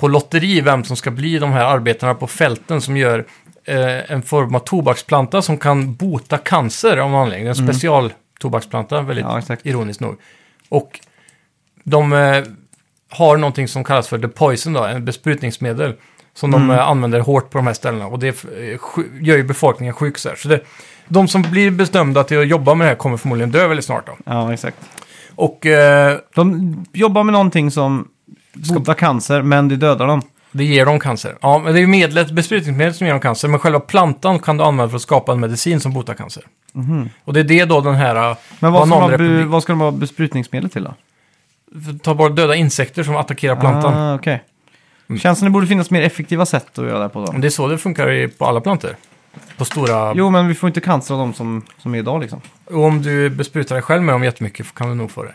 på lotteri vem som ska bli de här arbetarna på fälten som gör eh, en form av tobaksplanta som kan bota cancer om anledning. En special tobaksplanta, väldigt
Mm. Ja, exakt.
ironiskt nog. Och de eh, har någonting som kallas för the poison, då, en besprutningsmedel. Som
Mm.
de eh, använder hårt på de här ställena. Och det eh, sj- gör ju befolkningen sjuk. Så, här. så det, de som blir bestämda till att jobba med det här kommer förmodligen dö väldigt snart. Då.
Ja, exakt.
Och eh,
De jobbar med någonting som botar cancer, men det dödar dem.
Det ger dem cancer. Ja, men det är ju medlet, besprutningsmedlet som ger dem cancer. Men själva plantan kan du använda för att skapa en medicin som botar cancer. Och det är det då den här... äh,
Mhm. Men vad ska, de ha, bu-
bananrepublik-
vad ska de ha besprutningsmedel till då?
Ta bort döda insekter som attackerar plantan.
Ah, okej.
Mm.
Känns som det borde finnas mer effektiva sätt att göra det här på då.
Det är så det funkar i- på alla plantor. På stora...
Jo, men vi får inte cancer av dem som, som är idag liksom.
Och om du besprutar dig själv med dem jättemycket kan du nog få det.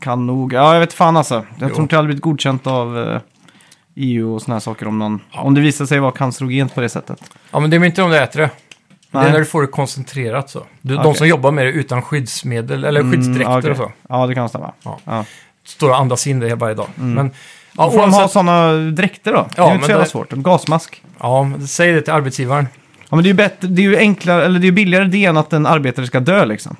Kan nog. Ja, jag vet fan alltså. Jag
Jo.
tror inte jag hade blivit godkänt av eh, EU och såna här saker om någon... Om det visar sig vara cancerogent på det sättet.
Ja, men det är väl inte om du äter det. Det
Nej.
är när du får det koncentrerat så. Du,
Okej.
De som jobbar med det utan skyddsmedel eller skyddsdräkter
ja, Mm, okej.
och så.
Ja, det kan stämma.
Ja.
Ja.
Står och andas in det varje dag. Men, ja,
Mm. Får de ha
oavsett,
sådana dräkter då? det är
Ja,
ju inte
men
så jävla
det-
svårt. En gasmask.
ja, men säg det till arbetsgivaren.
Ja, men det är ju bättre, det är ju enklare, eller det är ju billigare det än att en arbetare ska dö liksom.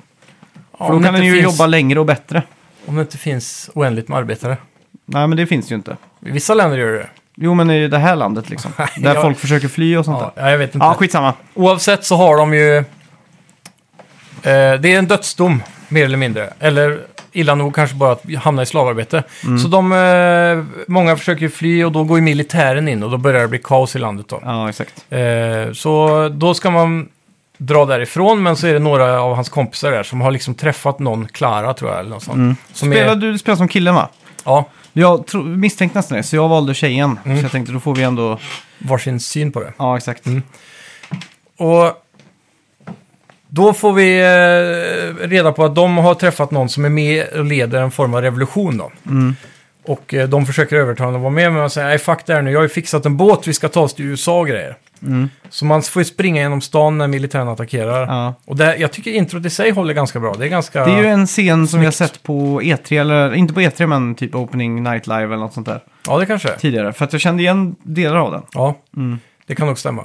Ja,
För
om
då
det
kan den
inte
ju
finns-
jobba längre och bättre.
Om det inte finns oändligt med arbetare.
Nej, men det finns ju inte.
I vissa länder gör det det.
Jo, men i det här landet liksom. där
Ja.
folk försöker fly och sånt
Ja,
där.
jag vet inte.
Ja, skitsamma.
Oavsett så har de ju... Eh, det är en dödsdom, mer eller mindre. Eller illa nog kanske bara att hamna i slavarbete.
Mm.
Så de, eh, många försöker ju fly och då går ju militären in och då börjar det bli kaos i landet. Då.
Ja, exakt.
Eh, så då ska man dra därifrån, men så är det några av hans kompisar där som har liksom träffat någon, Klara tror jag, eller något sånt. Som
Mm. Spelar
Är,
du, du spelar som killen va?
ja,
Jag tro, misstänkte nästan det, så jag valde tjejen.
Mm.
Så jag tänkte då får vi ändå...
varsin syn på det.
Ja, exakt.
Mm. Och då får vi eh, reda på att de har träffat någon som är med och leder en form av revolution. Då.
Mm.
Och eh, de försöker övertala honom att vara med, men han säger nej fuck det här nu, jag har ju fixat en båt, vi ska ta oss till USA och grejer. Så man får ju springa genom stan när militären attackerar.
Mm. Ja.
Och det, jag tycker introt i sig håller ganska bra. Det är ganska...
Det är ju en scen som vi har sett på E3, eller inte på E3 men typ Opening Night Live eller något sånt där
Ja, det kanske är.
tidigare. För att jag kände igen delar av den.
Ja,
Mm.
det kan nog stämma.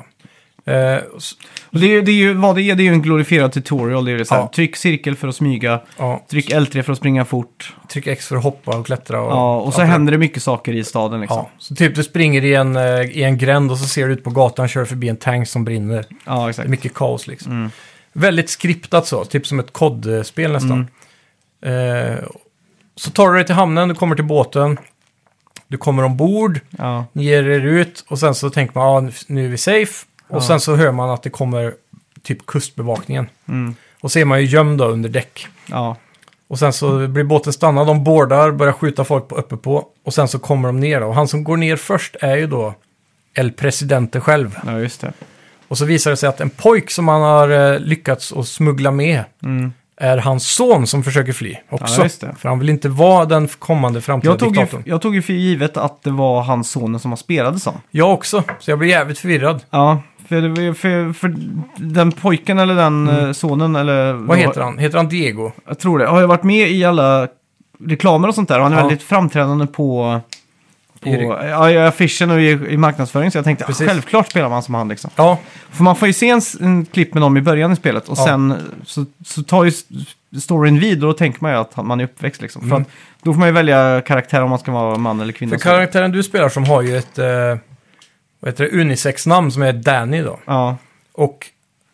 Eh, s-
Och det, är ju- det är ju vad det är, det är ju en glorifierad tutorial. Det är ju så här,
Ja.
tryck cirkel för att smyga,
ja,
tryck L3 för att springa fort.
tryck X för att hoppa och klättra. Och,
Ja, och så
allt det där.
händer det mycket saker i staden liksom.
Ja, så typ du springer i en, eh, i en gränd och så ser du ut på gatan kör förbi en tank som brinner.
Ja,
Det
exakt. Mm.
är mycket kaos liksom. Väldigt skriptat så, typ som ett kodspel nästan.
Mm.
Eh, så tar du dig till hamnen, du kommer till båten, du kommer ombord,
Ja.
ni ger er ut och sen så tänker man ah, nu är vi safe. Och
Ja.
sen så hör man att det kommer typ kustbevakningen.
Mm.
Och så är man ju gömd då under däck.
Ja.
Och sen så blir båten stannad, de boardar, börjar skjuta folk på, uppe på och sen så kommer de ner då. Och han som går ner först är ju då El Presidente själv.
ja, just det.
Och så visar det sig att en pojk som han har eh, lyckats att smuggla med
Mm.
är hans son som försöker fly också.
Ja, just det.
För han vill inte vara den kommande framtida
Jag tog, ju,
diktatorn.
jag tog ju för givet att det var hans sonen som han spelade som.
Jag också, så jag blir jävligt förvirrad.
Ja, för, det var ju- för, för den pojken eller den eh, sonen eller...
Mm. Vad heter han? Heter han Diego?
Jag tror det. Har ju varit med i alla reklamer och sånt där. Och han är
Ja.
väldigt framträdande på, på
I re-
ja, i affischen och i, i marknadsföring. Så jag tänkte,
Precis.
självklart spelar man som han liksom.
Ja,
För man får ju se en, s- en klipp med någon i början i spelet. Och
Ja.
sen så, så tar ju s- storyn vid och då tänker man ju att han- man är uppväxt liksom. För
Mm.
att, då får man ju välja karaktär om man ska vara man eller kvinna.
för
och så vidare.
karaktären du spelar som har ju ett eh, vad heter det, unisex-namn som är Danny då.
Ja,
Och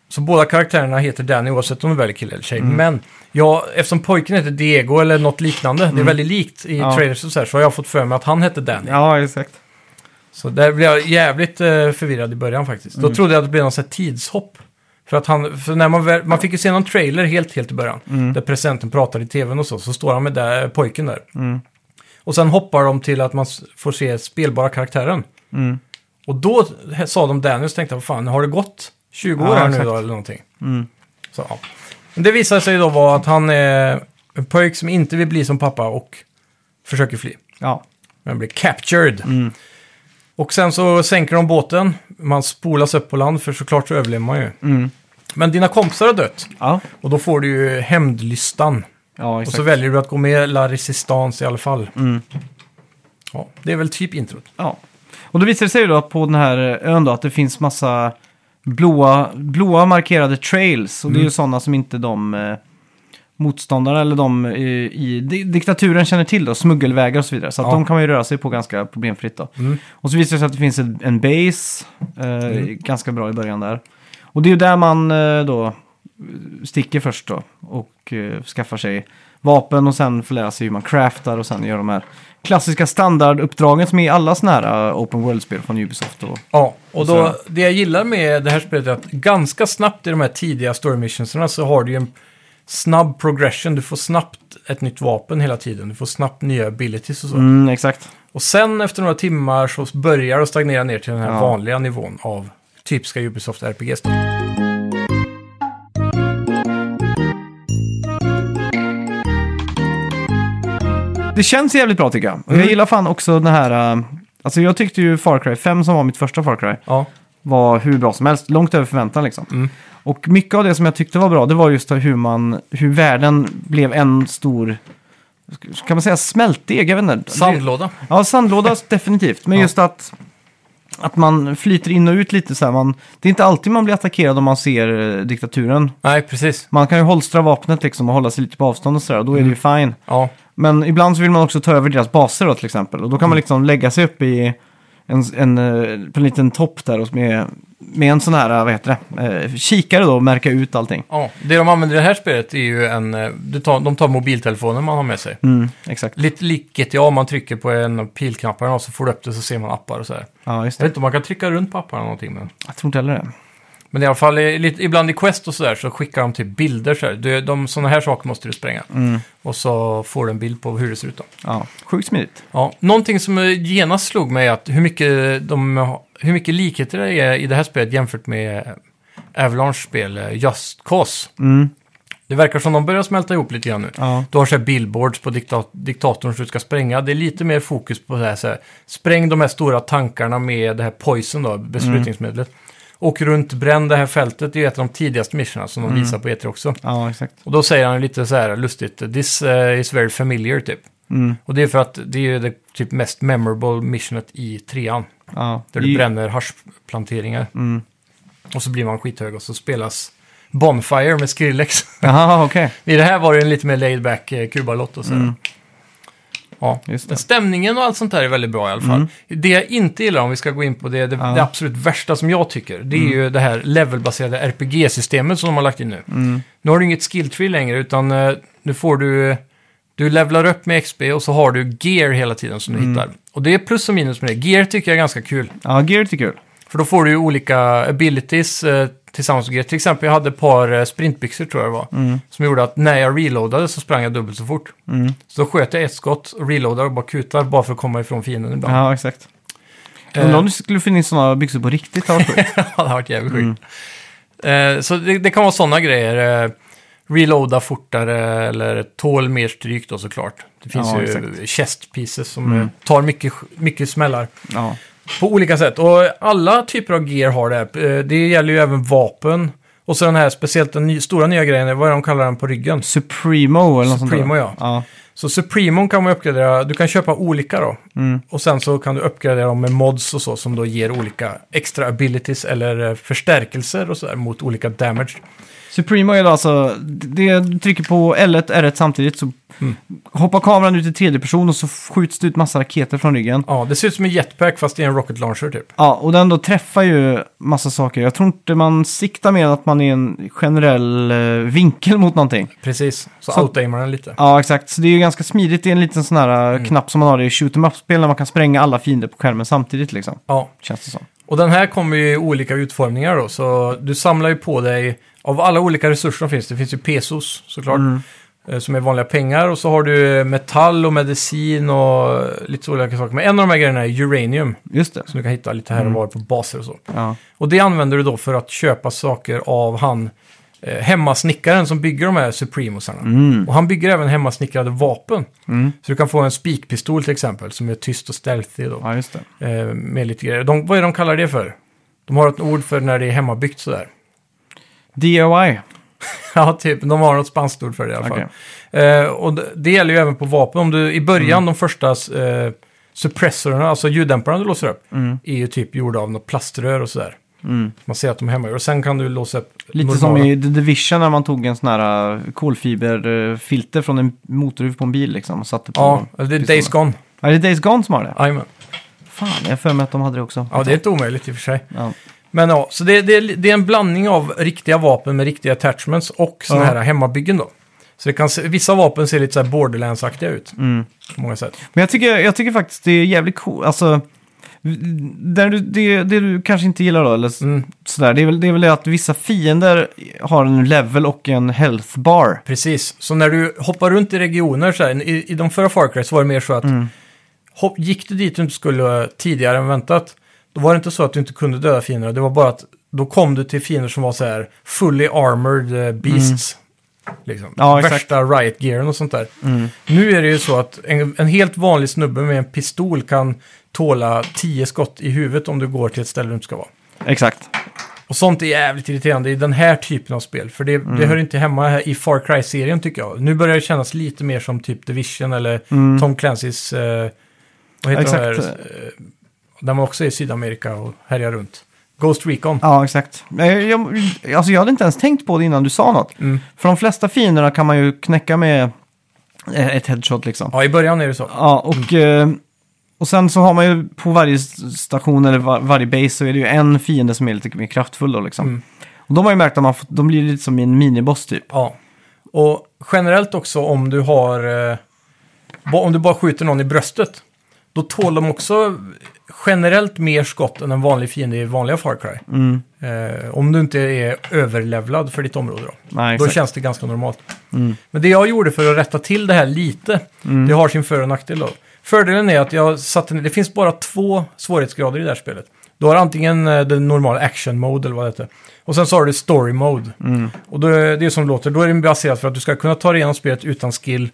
så båda karaktärerna heter Danny oavsett om de väljer kille eller tjej. Men ja, eftersom pojken heter Diego eller något liknande, det är väldigt likt i
Ja.
trailers och så här, så har jag fått för mig att han hette Danny.
ja exakt.
Så där blev jag jävligt eh, förvirrad i början faktiskt.
Mm.
Då trodde jag att det blev något sånt här tidshopp. För att han, för när man, väl, man fick ju se någon trailer helt, helt i början.
Mm.
Där presidenten pratar i tvn och så, så står han med där, eh, pojken där.
Mm.
Och sen hoppar de till att man s- får se spelbara karaktären.
Mm.
Och då he- sa de Daniels, tänkte jag, vad fan, har det gått 20 år
Ja,
här
exakt. Mm.
nu då eller någonting? Så, ja. Men det visade sig då vara att han är en pojk som inte vill bli som pappa och försöker fly.
Ja.
Men blir captured. Och sen så sänker de båten. Man spolas upp på land för såklart så överlever man ju. Men dina kompisar har dött.
Ja,
Och då får du ju hämndlystan.
ja
Och
exakt.
så väljer du att gå med La Resistance i alla fall.
Mm.
Ja, det är väl typ introt.
Ja. Och då visar det sig ju då på den här ön då att det finns massa blåa, blåa markerade trails. Och det är
Mm.
ju sådana som inte de eh, motståndarna eller de eh, i di diktaturen känner till då, smuggelvägar och så vidare. Så att
Ja.
de kan man ju röra sig på ganska problemfritt då.
Mm.
Och så visar det sig att det finns en, en base, eh, ganska bra i början där. Och det är ju där man eh, då eh, sticker först då och eh, skaffar sig vapen och sen får lära sig hur man craftar och sen gör de här klassiska standarduppdragen som är i alla sådana här eh, open world-spel från Ubisoft. Och,
Ja, och
Så.
då, det jag gillar med det här spelet är att ganska snabbt i de här tidiga story missionserna så har du ju en snabb progression. Du får snabbt ett nytt vapen hela tiden. Du får snabbt nya abilities och så.
mm, exakt.
Och sen efter några timmar så börjar det stagnera ner till den här
Ja.
vanliga nivån av typiska Ubisoft RPGs.
Det känns jävligt bra tycker jag. Och Jag
Mm.
gillar fan också den här... eh, Alltså jag tyckte ju Far Cry 5 som var mitt första Far Cry
Ja,
var hur bra som helst. Långt över förväntan liksom.
Mm.
Och mycket av det som jag tyckte var bra, det var just hur man, hur världen blev en stor, kan man säga smältdeg? Jag vet inte.
sandlåda.
Ja, sandlåda definitivt. Men
Ja.
just att, att man flyter in och ut lite så här. Man, det är inte alltid man blir attackerad om man ser eh, diktaturen.
Nej, precis.
Man kan ju holstra vapnet liksom och hålla sig lite på avstånd och sådär. Och då är det ju fine.
Ja,
Men ibland så vill man också ta över deras baser då till exempel. Och då kan
Mm.
man liksom lägga sig upp i en, en, eh, på en liten topp där och med, med en sån här, vad heter det, eh, kikare då och märka ut allting.
ja. Det de använder i det här spelet är ju en... eh, Du tar, de tar mobiltelefonen man har med sig.
Mm, exakt.
Lite lik GTA, man trycker på en av pilknapparna och så får du upp det så ser man appar och så här.
Ja, just
Jag vet
det.
inte om man kan trycka runt på apparna någonting men...
Jag tror inte heller det.
Men i alla fall, i- lite, ibland i Quest och sådär så skickar de till bilder så här. Du, de, sådana här saker måste du spränga. Och så får du en bild på hur det ser ut då.
Ja, sjukt smidigt.
Ja, någonting som eh, genast slog mig är att hur mycket, de, har- hur mycket likheter det är i det här spelet jämfört med Avalanche spel eh, Just Cause.
Mm,
Det verkar som de börjar smälta ihop lite grann nu.
ja.
Du har så här billboards på dikta diktatorn som du ska spränga. Det är lite mer fokus på det här, så här. Spräng de här stora tankarna med det här poison då, besprutningsmedlet. Och runt bränn det här fältet, det är ju ett av de tidigaste missionerna som de visar på E3 också.
ja, exakt.
Och då säger han lite så här lustigt, this eh, is very familiar typ.
Mm,
Och det är för att det är ju det typ mest memorable missionet i trean.
ja.
Där du
I-
bränner haschplanteringar.
Mm.
Och så blir man skithög och så spelas Bonfire med Skrillex.
Jaha, okej.
I det här var det en lite mer laid back eh, kubalott och så.
Mm.
Ja.
Just
Men
det.
stämningen och allt sånt där är väldigt bra i alla fall. Det jag inte gillar, om vi ska gå in på det, det,
Mm. Ja. Mm.
det absolut värsta som jag tycker, det är ju det här levelbaserade RPG-systemet som de har lagt in nu.
Mm.
Nu har du inget skill tree längre, utan eh, nu får du... Du levlar upp med XP och så har du gear hela tiden som du
Mm.
hittar. Och det är plus och minus med det. Gear tycker jag är ganska kul.
Ja, Geert är kul.
För då får du ju olika abilities eh, tillsammans med gear. Till exempel, jag hade ett par eh, sprintbyxor tror jag det var.
Mm,
Som gjorde att när jag reloadade så sprang jag dubbelt så fort.
mm.
Så då sköt jag ett skott, och reloadade och bara kutar bara för att komma ifrån fienden ibland.
Ja, exakt.
Eh,
Undrar om du skulle finnas sådana byxor på riktigt. det hade varit sjukt.
det hade varit jävligt sjukt.
Mm.
Eh, så det, det kan vara sådana grejer. Eh, reloada fortare eller tål mer stryk då såklart. Det finns
Ja,
ju
exakt.
chest pieces som
Mm.
eh, tar mycket, mycket smällar.
ja.
På olika sätt. Och alla typer av gear har det här. Eh, Det gäller ju även vapen. Och så den här, speciellt den ny, stora nya grejen, vad är det de kallar den på ryggen?
Supremo eller något sånt där.
Supremo, ja.
ja.
Så Supremon kan man uppgradera, du kan köpa olika då.
Mm.
Och sen så kan du uppgradera dem med mods och så som då ger olika extra abilities eller eh, förstärkelser och sådär mot olika damage.
Supremo är då alltså, det du trycker på L1 R1 samtidigt så
Mm.
hoppar kameran ut i tredje person och så skjuts det ut massa raketer från ryggen.
Ja, det ser ut som en jetpack fast det är en rocket launcher typ.
Ja, och den då träffar ju massa saker. Jag tror inte man siktar mer än att man är i en generell eh, vinkel mot någonting.
Precis, så,
Så-
outaimar den lite.
Ja, exakt. Så det är ju ganska smidigt. Det är en liten sån här eh,
Mm.
knapp som man har i shoot em up-spel när man kan spränga alla fiender på skärmen samtidigt liksom.
Ja.
Känns det som.
Och den här kommer ju i olika utformningar då, så du samlar ju på dig av alla olika resurser som finns. Det finns ju pesos såklart,
Mm.
eh, som är vanliga pengar. Och så har du eh, metall och medicin och eh, lite så olika saker. Men en av de här grejerna är uranium,
Just det.
som du kan hitta lite här och var på baser och så.
Ja.
Och det använder du då för att köpa saker av han eh, hemmasnickaren som bygger de här Supremosarna. Och han bygger även hemmasnickrade vapen. Så du kan få en spikpistol till exempel, som är tyst och stealthy då.
ja, just det.
Eh, med lite grejer. De, vad är de kallar det för? De har ett ord för när det är hemmabyggt sådär.
DIY.
ja, typ. De har något spanskt ord för det i alla fall.
Okej.
Eh, och det, det gäller ju även på vapen. Om du i början, de första eh, suppressorerna, alltså ljuddämparna du låser upp, är ju typ gjorda av något plaströr och sådär.
Mm.
Man ser att de är hemmagjorda. Och sen kan du låsa upp
Lite som
normala-
i The Division när man tog en sån här eh, kolfiberfilter från en motorhuv på en bil liksom och satte på
Ja, eller det är Days Gone.
Ja, det är Days Gone som har det.
Jajamän.
Fan, jag har för mig att de hade det också.
Ja, det är inte omöjligt i och för sig.
Ja.
Men ja, så det, det, det är en blandning av riktiga vapen med riktiga attachments och sådana
Ja.
här hemmabyggen då. Så det kan se, vissa vapen ser lite så här borderlands-aktiga ut. På många sätt.
Men jag tycker, jag tycker faktiskt det är jävligt coolt. Alltså, där du, det, det du kanske inte gillar då, eller s-
Mm.
sådär, det är, väl, det är väl det att vissa fiender har en level och en health bar.
Precis, så när du hoppar runt i regioner så här, i, i de förra Far Cry så var det mer så att
Mm.
hopp, gick du dit du inte skulle eh, tidigare än väntat, då var det inte så att du inte kunde döda fienderna, det var bara att då kom du till fiender som var så här fully armored eh, beasts. Liksom.
Mm. Ja, exakt. Mm.
Värsta riot-gearen och sånt där. Nu är det ju så att en, en helt vanlig snubbe med en pistol kan tåla 10 skott i huvudet om du går till ett ställe du inte ska vara.
Exakt.
Och sånt är jävligt irriterande i den här typen av spel. För det,
Mm.
det hör inte hemma här i Far Cry-serien tycker jag. Nu börjar det kännas lite mer som typ Division eller Tom Clancys... Eh, vad heter de
Mm. Exakt.
här? Eh, där man också är i Sydamerika och härjar runt. Ghost Recon.
Ja, exakt. Jag, jag, alltså jag hade inte ens tänkt på det innan du sa något.
Mm.
För de flesta fienderna kan man ju knäcka med eh, ett headshot liksom.
Ja, i början är det så.
Ja, och, eh, och sen så har man ju på varje s- station eller var, varje base så är det ju en fiende som är lite mer kraftfull då liksom.
Mm.
Och de har ju märkt att man, får- de blir lite som en miniboss typ.
Ja. Och generellt också om du har... Eh, ba- om du bara skjuter någon i bröstet. Då tål de också generellt mer skott än en vanlig fiende i vanliga Far Cry.
Mm.
Eh, om du inte är överlevlad för ditt område då.
Nej,
Då
exakt.
känns det ganska normalt.
Mm.
Men det jag gjorde för att rätta till det här lite, det har sin för och nackdel då. Fördelen är att jag satte ner, det finns bara två svårighetsgrader i det här spelet. Du har antingen eh, den normala action mode eller vad det heter. Och sen så har du story mode.
Mm.
Och då, är- det är som det låter, då är det baserat för att du ska kunna ta dig igenom spelet utan skill.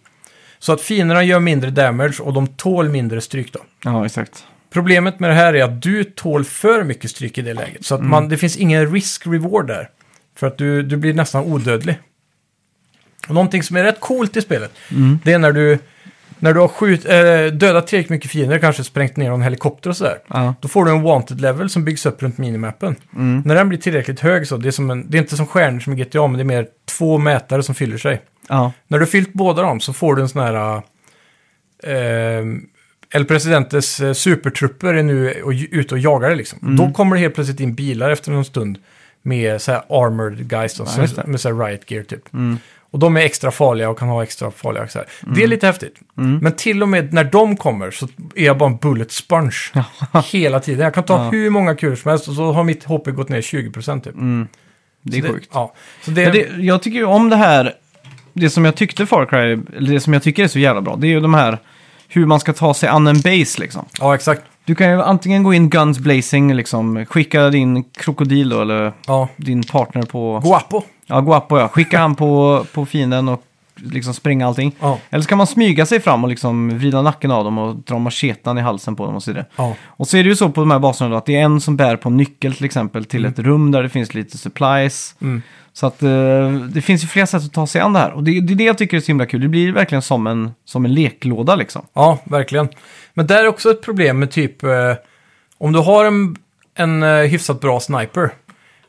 Så att fienderna gör mindre damage och de tål mindre stryk då.
Ja, exakt.
Problemet med det här är att du tål för mycket stryk i det läget. Så att man, det finns ingen risk-reward där. För att du, du blir nästan odödlig. Och någonting som är rätt coolt i spelet, det är när du, när du har skjut, eh, dödat tillräckligt mycket fiender, kanske sprängt ner någon helikopter och sådär.
Ja. Mm.
Då får du en wanted level som byggs upp runt minimappen. När den blir tillräckligt hög så, det är, som en, det är inte som stjärnor som i GTA, men det är mer två mätare som fyller sig.
Ja.
När du har fyllt båda dem så får du en sån här... Eh, El Presidentes eh, supertrupper är nu och, ute och jagar det liksom.
Mm.
Då kommer det helt plötsligt in bilar efter någon stund med så här armored guys, då,
Ja, just det. Mm.
med så här riot gear typ. Och de är extra farliga och kan ha extra farliga så här. Det är lite häftigt.
Mm.
Men till och med när de kommer så är jag bara en bullet sponge hela tiden. Jag kan ta
Ja.
hur många kulor som helst och så har mitt HP gått ner 20% typ.
Mm, Det är
Så det-
sjukt.
Ja. Så det,
Men det, jag tycker ju om det här, det som jag tyckte Far Cry, eller det som jag tycker är så jävla bra, det är ju de här hur man ska ta sig an en base liksom.
ja, exakt.
Du kan ju antingen gå in guns blazing, liksom, skicka din krokodil då, eller
Ja.
din partner på...
Guapo.
ja, Guapo ja. Skicka han på, på fienden och liksom spränga allting.
Ja.
Eller så kan man smyga sig fram och liksom vrida nacken av dem och dra machetan i halsen på dem och så vidare.
Ja.
Och så är det ju så på de här baserna då att det är en som bär på en nyckel till exempel till ett rum där det finns lite supplies.
Mm.
Så att eh, det finns ju flera sätt att ta sig an det här. Och det, det är det jag tycker är så himla kul. Det blir verkligen som en, som en leklåda liksom.
Ja, verkligen. Men där är också ett problem med typ, eh, om du har en, en eh, hyfsat bra sniper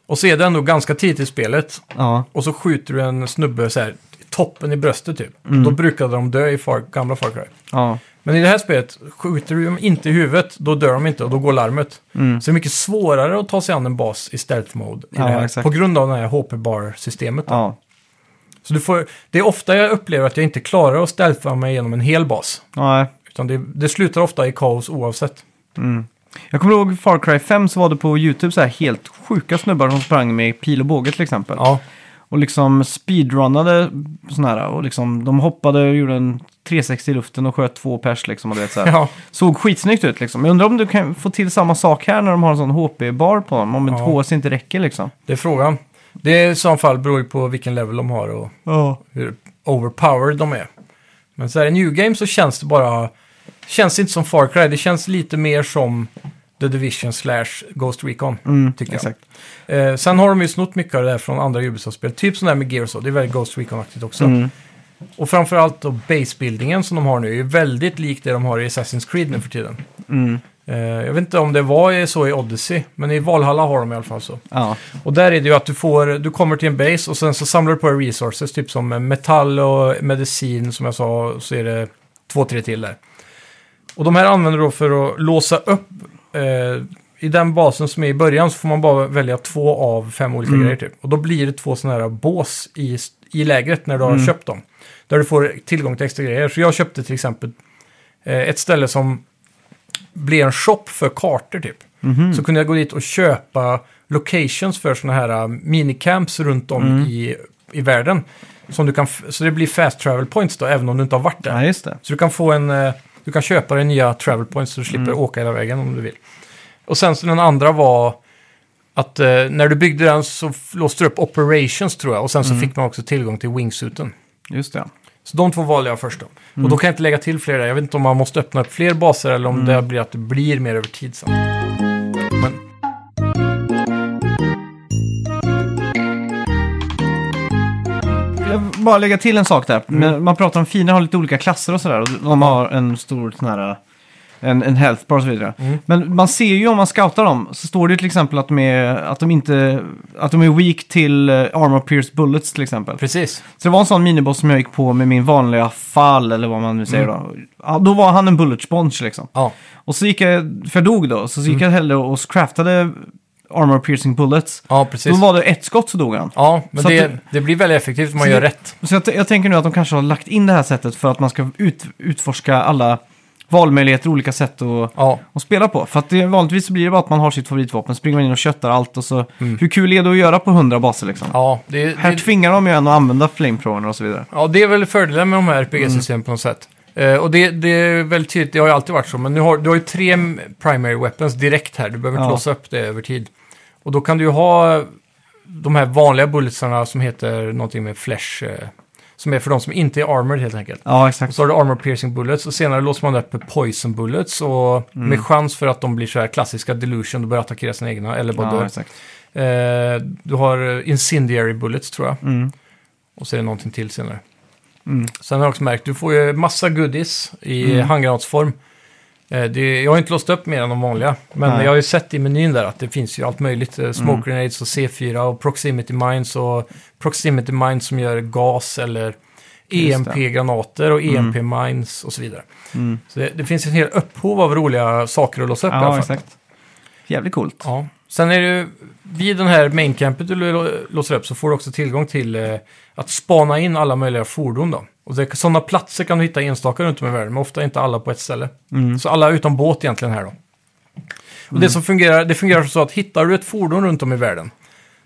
Och så är det ändå ganska tidigt i spelet.
Ja.
Och så skjuter du en snubbe så här, i toppen i bröstet typ.
Mm.
Då brukade de dö i far, gamla Far Cry.
Ja.
Men i det här spelet, skjuter du dem inte i huvudet, då dör de inte och då går larmet. Så det är mycket svårare att ta sig an en bas i stealth mode. I
Mm. Ja,
det här,
exakt.
På grund av det här HP-bar-systemet. då.
Ja.
Så du får, det är ofta jag upplever att jag inte klarar att stealtha mig genom en hel bas.
ja.
Utan det, det slutar ofta i kaos oavsett.
Jag kommer ihåg Far Cry 5 så var det på YouTube så här helt sjuka snubbar som sprang med pil och båge till exempel.
Ja,
Och liksom speedrunnade sådana här. Och liksom de hoppade och gjorde en 360 i luften och sköt två pers liksom. Och du vet, så här.
ja.
Såg skitsnyggt ut liksom. Jag undrar om du kan få till samma sak här när de har en sån HP-bar på dem. Om ett
Ja.
HS inte räcker liksom.
det är frågan. Det är i så fall beror ju på vilken level de har och
Ja.
hur overpowered de är. Men så här i New Game så känns det bara... Känns inte som Far Cry, det känns lite mer som The Division slash Ghost Recon.
Mm,
Tycker jag.
exakt.
Eh, sen har de ju snott mycket av det där från andra Ubisoft-spel. Typ sån där med Gears of, det är väldigt Ghost Recon-aktigt också.
Mm.
Och framförallt då base-buildingen som de har nu är ju väldigt lik det de har i Assassin's Creed nu för tiden.
Mm.
Eh, jag vet inte om det var i- så i Odyssey, men i Valhalla har de i alla fall så.
Ja.
Och där är det ju att du, får, du kommer till en base och sen så samlar du på dig resources, typ som metall och medicin som jag sa, så är det två, tre till där. Och de här använder du då för att låsa upp, eh, i den basen som är i början så får man bara välja två av fem olika
Mm.
grejer typ. Och då blir det två sådana här bås i, i lägret när du har
Mm.
köpt dem. Där du får tillgång till extra grejer. Så jag köpte till exempel eh, ett ställe som blir en shop för kartor typ.
Mhm.
Så kunde jag gå dit och köpa locations för sådana här äh, minicamps runt om
Mm.
i, i världen. Som du kan f- så det blir fast travel points då, även om du inte har varit där.
ja, just det.
Så du kan, få en, eh, du kan köpa dig nya travel points så du slipper åka hela vägen om du vill. Och sen så den andra var att eh, när du byggde den så f- låste du upp operations tror jag. Och sen så fick man också tillgång till wingsuiten.
Just det.
Så de två valde jag först då. Och då kan jag inte lägga till fler där. Jag vet inte om man måste öppna upp fler baser eller om det blir att det blir mer över tid sen. Men...
Jag vill bara lägga till en sak där.
Mm.
Men man pratar om fina har lite olika klasser och sådär. Och de har en stor sån här... En, en health bar och så vidare.
Mm.
Men man ser ju om man scoutar dem. Så står det ju till exempel att de är, att de inte, att de är weak till eh, armor pierce bullets till exempel.
Precis.
Så det var en sån miniboss som jag gick på med min vanliga fall eller vad man nu säger
Mm.
då. Ja, då var han en bullet sponge liksom.
Ja.
Och så gick jag, för jag dog då, så, så gick
Mm.
jag hellre och craftade armor piercing bullets.
Ja,
Då
precis.
var det ett skott så dog han.
Ja, men
Så att
det,
det-
det blir väldigt effektivt om man
Så
gör
det-
rätt.
Så jag, t- jag tänker nu att de kanske har lagt in det här sättet för att man ska ut, utforska alla valmöjligheter, olika sätt att,
Ja,
att spela på. För att det, vanligtvis så blir det bara att man har sitt favoritvapen, springer man in och köttar allt och så...
Mm.
Hur kul är det att göra på 100 baser liksom?
ja det,
Här
det,
tvingar de ju en att använda flamethrower och så vidare.
ja, det är väl fördelen med de
Mm.
här RPG-systemen på något sätt. Eh, och det, det är väldigt tydligt, det har ju alltid varit så, men nu har, du har ju tre m- primary weapons direkt här, du behöver inte
Ja.
låsa upp det över tid. Och då kan du ju ha de här vanliga bulletsarna som heter någonting med flash, eh, som är för de som inte är armored helt enkelt.
Ja,
Och
exakt.
så har du armor piercing bullets och senare låser man upp poison bullets och
Mm.
med chans för att de blir så här klassiska delusion, du börjar attackera sina egna eller bara
Ja,
dör.
exakt.
Eh, du har eh, incendiary bullets tror jag.
Mm.
Och så är det någonting till senare.
Mm.
Sen har jag också märkt, du får ju massa goodies i
Mm.
handgranatsform. Eh, det, jag har inte låst upp mer än de vanliga. Men
Nej. Mm.
jag har ju sett i menyn där att det finns ju allt möjligt. Eh, Smoke grenades och C4 och proximity mines och proximity mines som gör gas eller E
Just det.
EMP-granater och E EMP-mines och så vidare.
Mm.
Så det, det finns en hel upphov av roliga saker att låsa upp i alla
Ja,
fall.
exakt. Jävligt coolt.
Ja. Sen är det ju, vid den här maincampet du lo- låser upp så får du också tillgång till eh, att spana in alla möjliga fordon då. Och det, sådana platser kan du hitta enstaka runt om i världen, men ofta inte alla på ett ställe.
Mm.
Så alla utom båt egentligen här då. Och det som fungerar, det fungerar så att hittar du ett fordon runt om i världen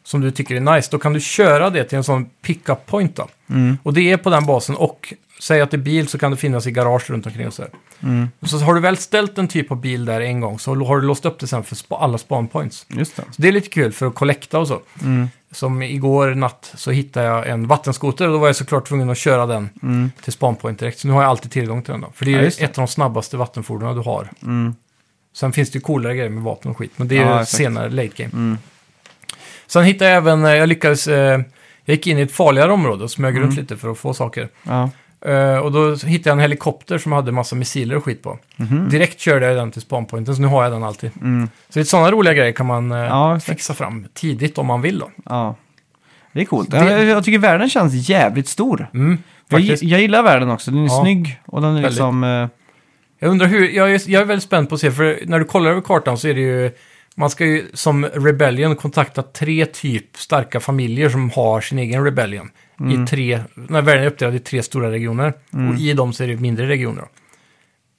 som du tycker är nice, då kan du köra det till en sån pick-up point då.
Mm.
Och det är på den basen och säg att det är bil så kan det finnas i garage runt omkring och så här.
Mm.
Så har du väl ställt en typ av bil där en gång så har du låst upp det sen för spa- alla spawn points.
Just det.
Så det är lite kul för att kollekta och så.
Mm.
Som igår natt så hittade jag en vattenskoter och då var jag såklart tvungen att köra den
Mm.
till spanpoint direkt. Så nu har jag alltid tillgång till den då. För det
Ja,
är
just det.
ett av de snabbaste vattenfordonen du har.
Mm.
Sen finns det ju coolare grejer med vapen och skit, men det är
Ja,
ju
exakt.
senare, late game.
Mm.
Sen hittade jag även, eh, jag lyckades, eh, jag gick in i ett farligare område och smög
Mm.
runt lite för att få saker.
Ja.
Eh, och då hittade jag en helikopter som hade massa missiler och skit på. Direkt körde jag den till spanpointen, så nu har jag den alltid.
Mhm. Mm.
Så lite sådana roliga grejer kan man eh,
Ja, exakt.
fixa fram tidigt om man vill då.
Ja. Det är coolt.
Det-
Jag, jag tycker världen känns jävligt stor.
Mm,
Jag,
faktiskt.
jag gillar världen också. Den är
Ja.
snygg och den är
Väldigt.
liksom... eh,
Jag undrar hur, jag är, jag är väldigt spänd på att se, för när du kollar över kartan så är det ju, man ska ju som Rebellion kontakta tre typ starka familjer som har sin egen Rebellion. I tre, när världen är uppdelad i tre stora regioner. Och i dem så är det mindre regioner. då.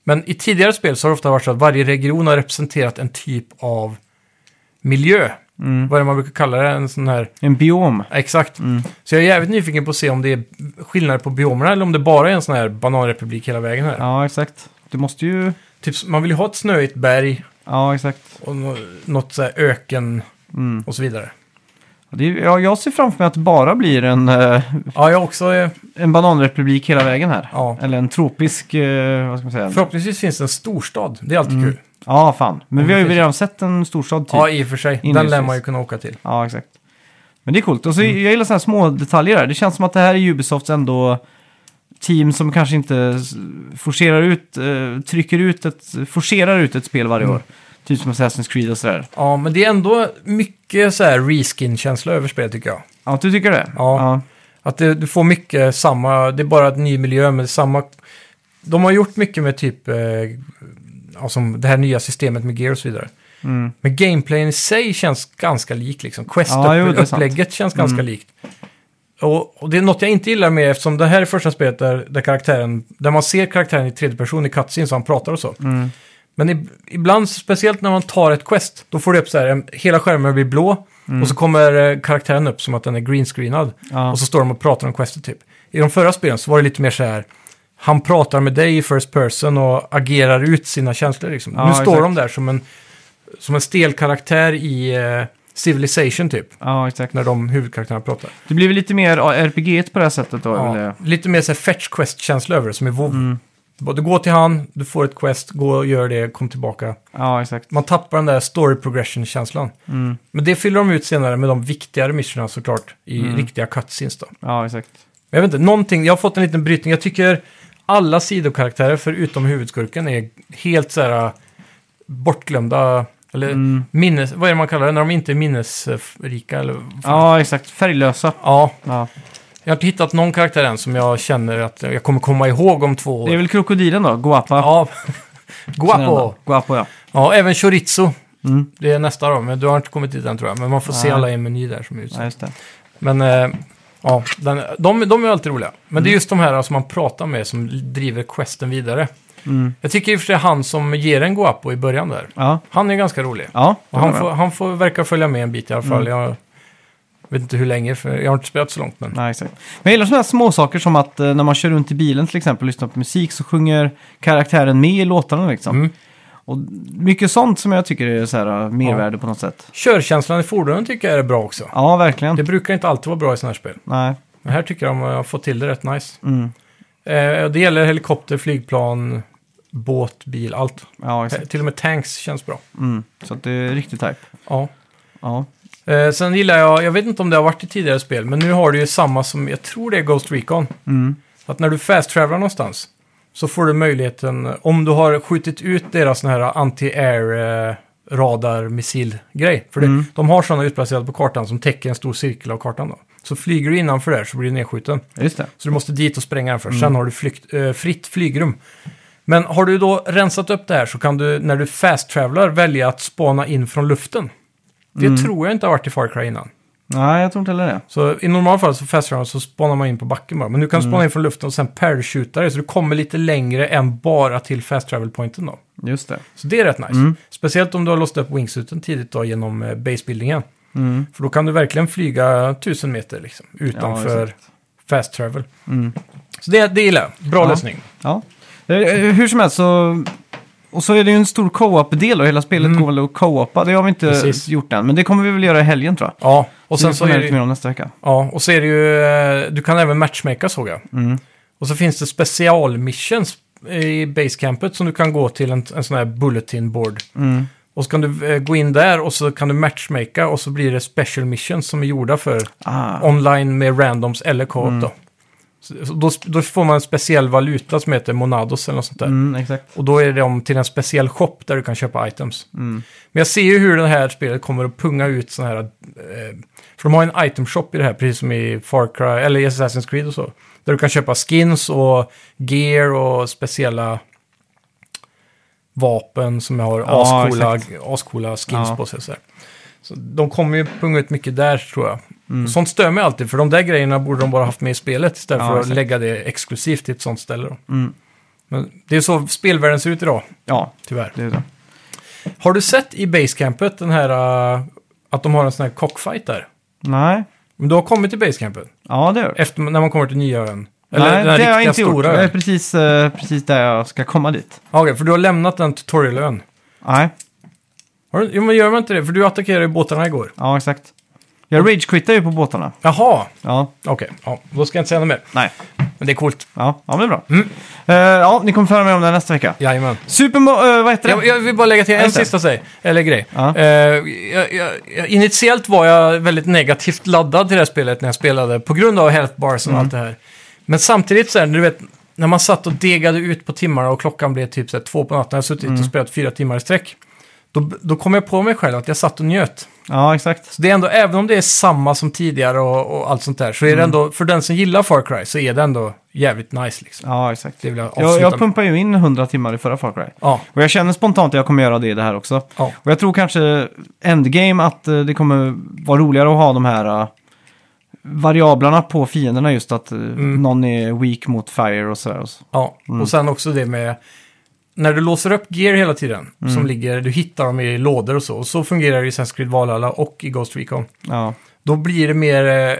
Men i tidigare spel så har det ofta varit så att varje region har representerat en typ av miljö. Vad är det man brukar kalla det? En sån här...
en biom.
Ja, Exakt. Så jag är jävligt nyfiken på att se om det är skillnader på biomerna eller om det bara är en sån här bananrepublik hela vägen här.
Ja, exakt. Du måste ju...
Typ, man vill ju ha ett snöigt berg
Ja, exakt.
och nå- något så här öken
Mm.
och så vidare.
Det är, ja, jag ser framför mig att det bara blir en, eh,
Ja, jag också. eh,
en bananrepublik hela vägen här.
Ja.
Eller en tropisk... eh, vad ska man säga?
Förhoppningsvis finns det en storstad. Det är alltid kul.
Ja, fan. Men vi har ju
finns-
redan sett en storstad typ.
Ja, i och för sig. Den lär
Inledningsvis.
man ju kunna åka till.
Ja, exakt. Men det är coolt. Och så, Jag gillar sådana här små detaljer där. Det känns som att det här är Ubisofts ändå team som kanske inte s- forcerar ut, eh, trycker ut ett, forcerar ut ett spel
Mm.
varje år. Typ som Assassin's Creed och sådär.
Ja, men det är ändå mycket så här reskin-känsla över spelet tycker jag.
Ja, du tycker det?
Ja. Att det, du får mycket samma, det är bara ett ny miljö med samma... De har gjort mycket med typ, eh, ja, som det här nya systemet med gear och så vidare.
Mm.
Men gameplayen i sig känns ganska lik liksom.
Ja, jo, det är sant. Mm.
Quest-upplägget känns ganska likt. Och, och det är något jag inte gillar med eftersom det här är första spelet där, där karaktären, där man ser karaktären i tredje person i cutscenes så han pratar och så.
Mm.
Men ib- ibland, speciellt när man tar ett quest, då får du upp så här, en- hela skärmen blir blå
Mm.
och så kommer eh, karaktären upp som att den är greenscreenad.
Ja.
Och så står de och pratar om questet typ. I de förra spelen så var det lite mer så här, han pratar med dig i first person och agerar ut sina känslor liksom.
Ja,
nu står
exakt.
de där som en, som en stel karaktär i eh, Civilization typ.
ja, exakt.
När de huvudkaraktärerna pratar.
Det blir väl lite mer ja, RPG på det Mm. här sättet då?
Ja,
Eller?
Lite mer så här fetch quest-känsla över det som i WoW. Du går till han, du får ett quest, gå och gör det, kom tillbaka.
ja exakt.
Man tappar den där story progression-känslan.
Mm.
Men det fyller de ut senare med de viktigare missionerna såklart i
Mm.
riktiga cutscenes då.
Ja, exakt.
Men jag vet inte, någonting, jag har fått en liten brytning. Jag tycker alla sidokaraktärer förutom huvudskurken är helt så här äh, bortglömda, eller
Mm.
minnes, vad är det man kallar det, när de inte är minnesrika eller?
Ja, exakt. Färglösa.
Ja,
Ja.
jag har inte hittat någon karaktär än som jag känner att jag kommer komma ihåg om två år.
Det är väl krokodilen då? Guapa.
Ja, guapo!
Guapo. Guapo, ja.
Ja, även chorizo.
Mm.
Det är nästa då, men du har inte kommit dit än tror jag. Men man får se
Nej.
alla i en meny där som är utsatt.
ja just det.
Men eh, ja, den, de, de är alltid roliga. Men det är just de här som man pratar med som driver questen vidare.
Mm.
Jag tycker i och för sig han som ger en Guapo i början där,
Ja.
han är ganska rolig.
Ja, det
Och han,
var
får,
bra.
han får verka följa med en bit i alla fall.
Mm.
Jag vet inte hur länge, för jag har inte spelat så långt. Men...
Nej, exakt. Men jag gillar sådana här små saker som att eh, när man kör runt i bilen till exempel och lyssnar på musik så sjunger karaktären med i låtarna liksom.
Mm.
Och mycket sånt som jag tycker är så här eh, mervärde på något sätt.
Körkänslan i fordonen tycker jag är bra också.
Ja, verkligen.
Det brukar inte alltid vara bra i sådana här spel.
Nej.
Men här tycker jag de har fått till det rätt nice.
Mm.
Eh, det gäller helikopter, flygplan, båt, bil, allt.
Ja,
Eh,
exakt.
till och med tanks känns bra.
Mm. Så att det är riktigt type.
Ja.
Ja.
Eh, sen gillar jag, jag vet inte om det har varit i tidigare spel, men nu har du ju samma som, jag tror det är Ghost Recon.
Mm.
Att när du fast-travelar någonstans så får du möjligheten, om du har skjutit ut deras sån här anti-air eh, radar missilgrej. För det,
Mm.
de har sådana utplacerade på kartan som täcker en stor cirkel av kartan då. Så flyger du innanför där så blir du nedskjuten.
Just det.
Så du måste dit och spränga den först. Sen har du flykt, eh, fritt flygrum. Men har du då rensat upp det här så kan du när du fast-travelar välja att spana in från luften. Det tror jag inte har varit i Far Cry innan.
Nej, jag tror inte heller det.
Så i normala fall så fast travel så spanar man in på backen bara. Men nu kan du spana in från luften och sen parachuta dig. Så du kommer lite längre än bara till fast travel pointen då.
Just det.
Så det är rätt nice. Speciellt om du har låst upp wingsuten tidigt då genom eh, basebuildingen.
Mm.
För då kan du verkligen flyga tusen meter liksom, utanför
exakt.
fast travel.
Mm.
Så det, det gillar jag. Bra
Ja.
lösning.
Ja. Eh, eh, Hur som helst så... Och så är det ju en stor co-op-del och hela spelet
Mm.
går väl att co-opa. Det har vi inte
Precis.
gjort än, men det kommer vi väl göra i helgen tror jag.
Ja, och sen
vi
så
får
är
lite mer
det,
om nästa vecka.
ja, och så är det ju, eh, du kan även matchmaka såg jag.
Mm.
Och så finns det specialmissions i basecampet som du kan gå till en, en sån här bulletin board.
Mm.
Och så kan du eh, gå in där och så kan du matchmaka och så blir det special missions som är gjorda för
Ah.
online med randoms eller co-op då. Så, så då, då får man en speciell valuta som heter Monados eller något sånt där.
Mm, exakt.
Och då är de till en speciell shop där du kan köpa items.
Mm.
Men jag ser ju hur det här spelet kommer att punga ut sådana här... Eh, för de har en item shop i det här, precis som i Far Cry, eller i Assassin's Creed och så. Där du kan köpa skins och gear och speciella vapen som har
Ja,
ascoola, ascoola skins
Ja.
på sig. och Så, här. så de kommer ju punga ut mycket där tror jag. Sånt stör mig alltid, för de där grejerna borde de bara haft med i spelet istället
Mm. Ja,
för att
exakt.
lägga det exklusivt till ett sånt ställe. Då.
Mm.
Men det är så spelvärlden ser ut idag,
Ja,
tyvärr.
det är det.
Har du sett i basecampet den här uh, att de har en sån här cockfight där?
Nej.
Men du har kommit till basecampet
Ja, det gör det.
efter, när man kommer till nya ön? Eller
Nej,
den här
det har jag
riktiga
inte gjort.
stora
Det är
ön?
precis, eh, precis där jag ska komma dit.
Ja, Okej, för du har lämnat den tutorialön.
Nej,
Har du- Jo, men gör man inte det? För du attackerade ju båtarna igår.
ja exakt. Jag ragequittar ju på båtarna.
Jaha,
Ja,
okej. ja, då ska jag inte säga något mer.
nej.
Men det är coolt.
Ja, ja men det är bra.
Mm.
Eh, ja, ni kommer få höra mer om det här nästa vecka.
Jajamän.
Super... Uh, vad heter det?
Jag, jag vill bara lägga till en
Just det.
sista säg, eller grej.
Ja.
Eh, jag, jag, jag, initiellt var jag väldigt negativt laddad till det här spelet när jag spelade på grund av health bars och
Mm.
allt det här. Men samtidigt så här, du vet, när man satt och degade ut på timmarna och klockan blev typ så här, två på natten, jag har suttit
Mm.
och spelat fyra timmar i sträck. Då, då kom jag på mig själv att jag satt och njöt.
Ja, exakt.
Så det är ändå, även om det är samma som tidigare och, och allt sånt där, så är
Mm.
det ändå, för den som gillar Far Cry så är det ändå jävligt nice liksom.
Ja, exakt.
Det vill jag avsluta
Jag, jag
med.
pumpar ju in 100 timmar i förra Far Cry.
Ja,
Och jag känner spontant att jag kommer göra det i det här också.
ja.
Och jag tror kanske endgame att eh, det kommer vara roligare att ha de här eh, variablerna på fienderna just att eh, någon är weak mot fire och sådär. Och så.
Ja, och sen också det med när du låser upp gear hela tiden,
Mm.
som ligger, du hittar dem i lådor och så, och så fungerar det i Assassin's Creed Valhalla och i Ghost Recon.
Ja,
Då blir det mer, eh,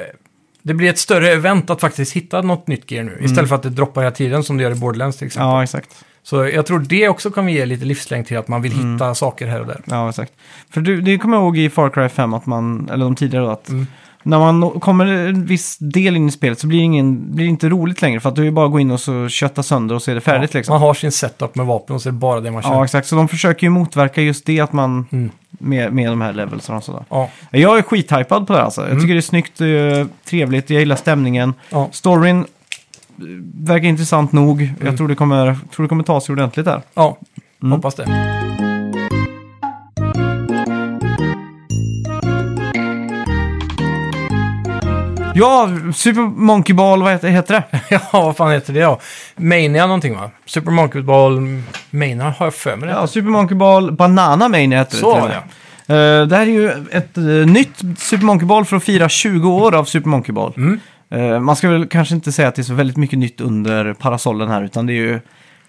det blir ett större event att faktiskt hitta något nytt gear nu, istället för att det droppar hela tiden som det gör i Borderlands till exempel.
Mm. ja exakt.
Så jag tror det också kan ge lite livslängd till att man vill
Mm.
hitta saker här och där.
Ja, exakt. För du, det kommer jag ihåg i Far Cry 5, att man, eller de tidigare då, att
Mm.
när man nå- kommer en viss del in i spelet så blir det, ingen, blir det inte roligt längre för att du är bara att gå in och så kötta sönder och så är det färdigt liksom.
Man har sin setup med vapen och så är det bara det man kör.
Ja,
Ja.
exakt. Så de försöker ju motverka just det att man
Mm.
med, med de här levelsen och sådär. Jag är skithypad på det här alltså.
Mm.
Jag tycker det är snyggt, eh, trevligt, jag gillar stämningen.
Ja.
Storyn eh, verkar intressant nog.
Mm.
Jag tror det, kommer, tror det kommer ta sig ordentligt där.
Ja,
Mm.
hoppas det.
Ja, Super Monkey Ball, vad heter, heter det?
Ja, vad fan heter det då? Mania någonting va? Super Monkey Ball Mania har jag för mig det.
Ja, Super Monkey Ball Banana Mania heter
Så
det.
var
till och med. Eh, Det här är ju ett eh, nytt Super Monkey Ball för att fira 20 år av Super Monkey Ball.
Mm.
Eh, Man ska väl kanske inte säga att det är så väldigt mycket nytt under parasollen här, utan det är ju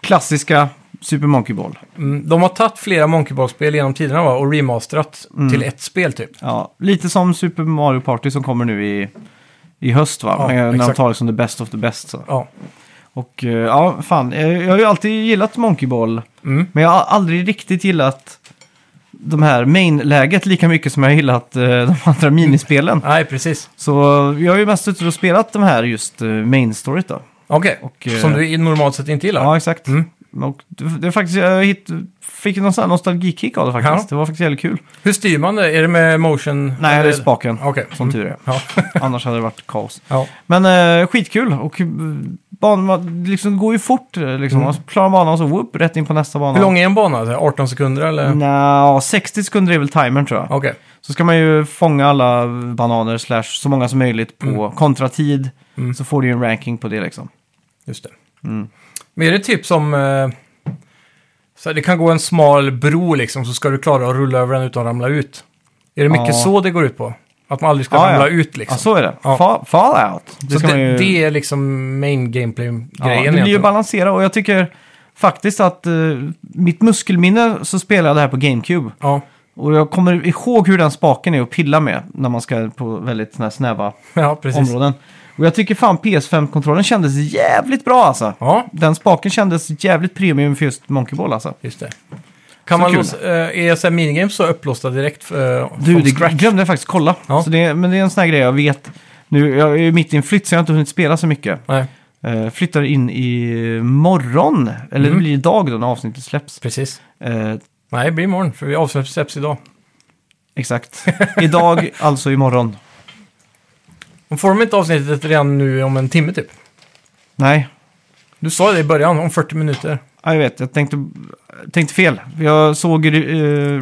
klassiska Super Monkey Ball.
Mm, de har tagit flera Monkey Ball-spel genom tiderna va? och remasterat
Mm.
till ett spel typ.
Ja, lite som Super Mario Party som kommer nu i, i höst va?
Ja,
När- när de
exakt.
tar det som the best of the best. Så.
Ja.
Och eh, ja, fan, eh, jag har ju alltid gillat Monkey Ball.
Mm.
Men jag har aldrig riktigt gillat de här main-läget lika mycket som jag har gillat eh, de andra minispelen.
Nej, precis.
Så jag har ju mest suttit och spelat de här just eh, main-storyt då.
Okej,
Och, eh,
som du i- normalt sett inte gillar.
Ja, exakt.
Mm.
Och det, det är faktiskt, jag hit, fick någon sån här nostalgikick av det faktiskt. Det
Ja.
var faktiskt jävligt kul.
Hur styr man det? Är det med motion?
Nej,
eller-
det är spaken.
Okej.
Som
Mm.
tur är.
Ja.
Annars hade det varit kaos.
ja.
Men eh, skitkul och eh, banan var- liksom, det går ju fort. eh, Liksom. Man klarar banan och så whoop, rätt in på nästa bana.
Mm. Hur lång är en bana? Så här 18 sekunder eller?
Nja, 60 sekunder är väl timern tror jag.
Okej.
Så ska man ju fånga alla bananer slash så många som möjligt på kontratid.
Mm.
Så får du ju en ranking på det liksom.
Just det.
Mm.
Men är det typ som... eh, Så här, det kan gå en smal bro liksom, så ska du klara att rulla över den utan att ramla ut. Är det mycket
Ja.
så det går ut på? Att man aldrig ska
Ja, Alltså, ja.
ramla ut liksom?
Ja, så är det.
Ja.
Fa- Fallout. Det,
så
ska
det,
man ju...
det är liksom main
ja,
gameplay-grejen
det blir ju
egentligen.
balansera och jag tycker faktiskt att eh, mitt muskelminne så spelade jag det här på GameCube.
Ja,
Och jag kommer ihåg hur den spaken är att pilla med när man ska på väldigt såna här snäva
ja precis.
områden. Och jag tycker fan PS5-kontrollen kändes jävligt bra alltså.
Ja,
Den spaken kändes jävligt premium för just Monkey Ball alltså.
just det.
Så
Kan man
kul.
låsa, eh, är så här minigames så upplåsta direkt uh,
Du,
från
det
scratch?
glömde jag faktiskt kolla.
Ja.
Så det, men det är en sån här grej jag vet. Nu, jag är ju mitt i en flytt så jag har inte hunnit spela så mycket.
Nej,
Eh, flyttar in i morgon, eller det
Mm.
blir idag då när avsnittet släpps.
precis.
Eh,
Nej, det blir imorgon, för vi avsläpps idag.
exakt. idag, alltså imorgon.
Om får de inte avsnittet redan nu om en timme typ?
Nej,
Du sa det i början, om 40 minuter.
ja, jag vet. Jag tänkte, tänkte fel. Jag såg uh,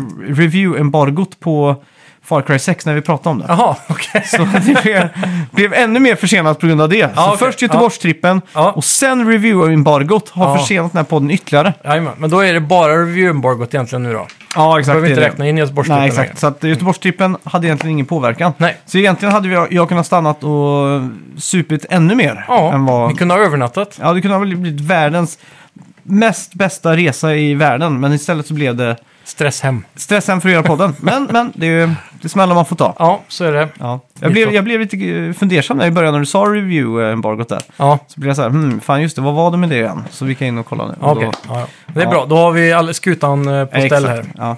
review-embargot på Far Cry 6 när vi pratade om det.
Jaha, okej.
Så det blev, blev ännu mer försenat på grund av det. så
okej.
först Göteborgstrippen
Ja.
och sen review-embargot har
Ja.
försenat den här podden ytterligare.
Jajamän, men då är det bara review-embargot egentligen nu då.
Ja, exakt.
Behöver inte räkna in typ Göteborgstrippen
Nej, exakt. Så att Göteborgstrippen hade egentligen ingen påverkan.
Nej.
Så egentligen hade jag, jag kunnat stannat och supit ännu mer.
Ja,
än vad...
ni kunde ha övernattat.
ja, det kunde ha väl blivit världens mest bästa resa i världen. Men istället så blev det
Stress hem.
stressen för att göra podden. men, men det är, det är smällar man får ta.
Ja, så är det.
Ja. Jag, blev, jag blev lite eh, fundersam där i början när du sa review-embargot där.
Ja,
Så blev jag så här, hmm, fan just det, vad var det med det igen? Så vi kan in och kolla nu. Och
okej.
då-
Ja, ja. Det är
Ja.
bra, då har vi all, skutan eh, på
Eh,
ställ
exakt,
här.
Ja.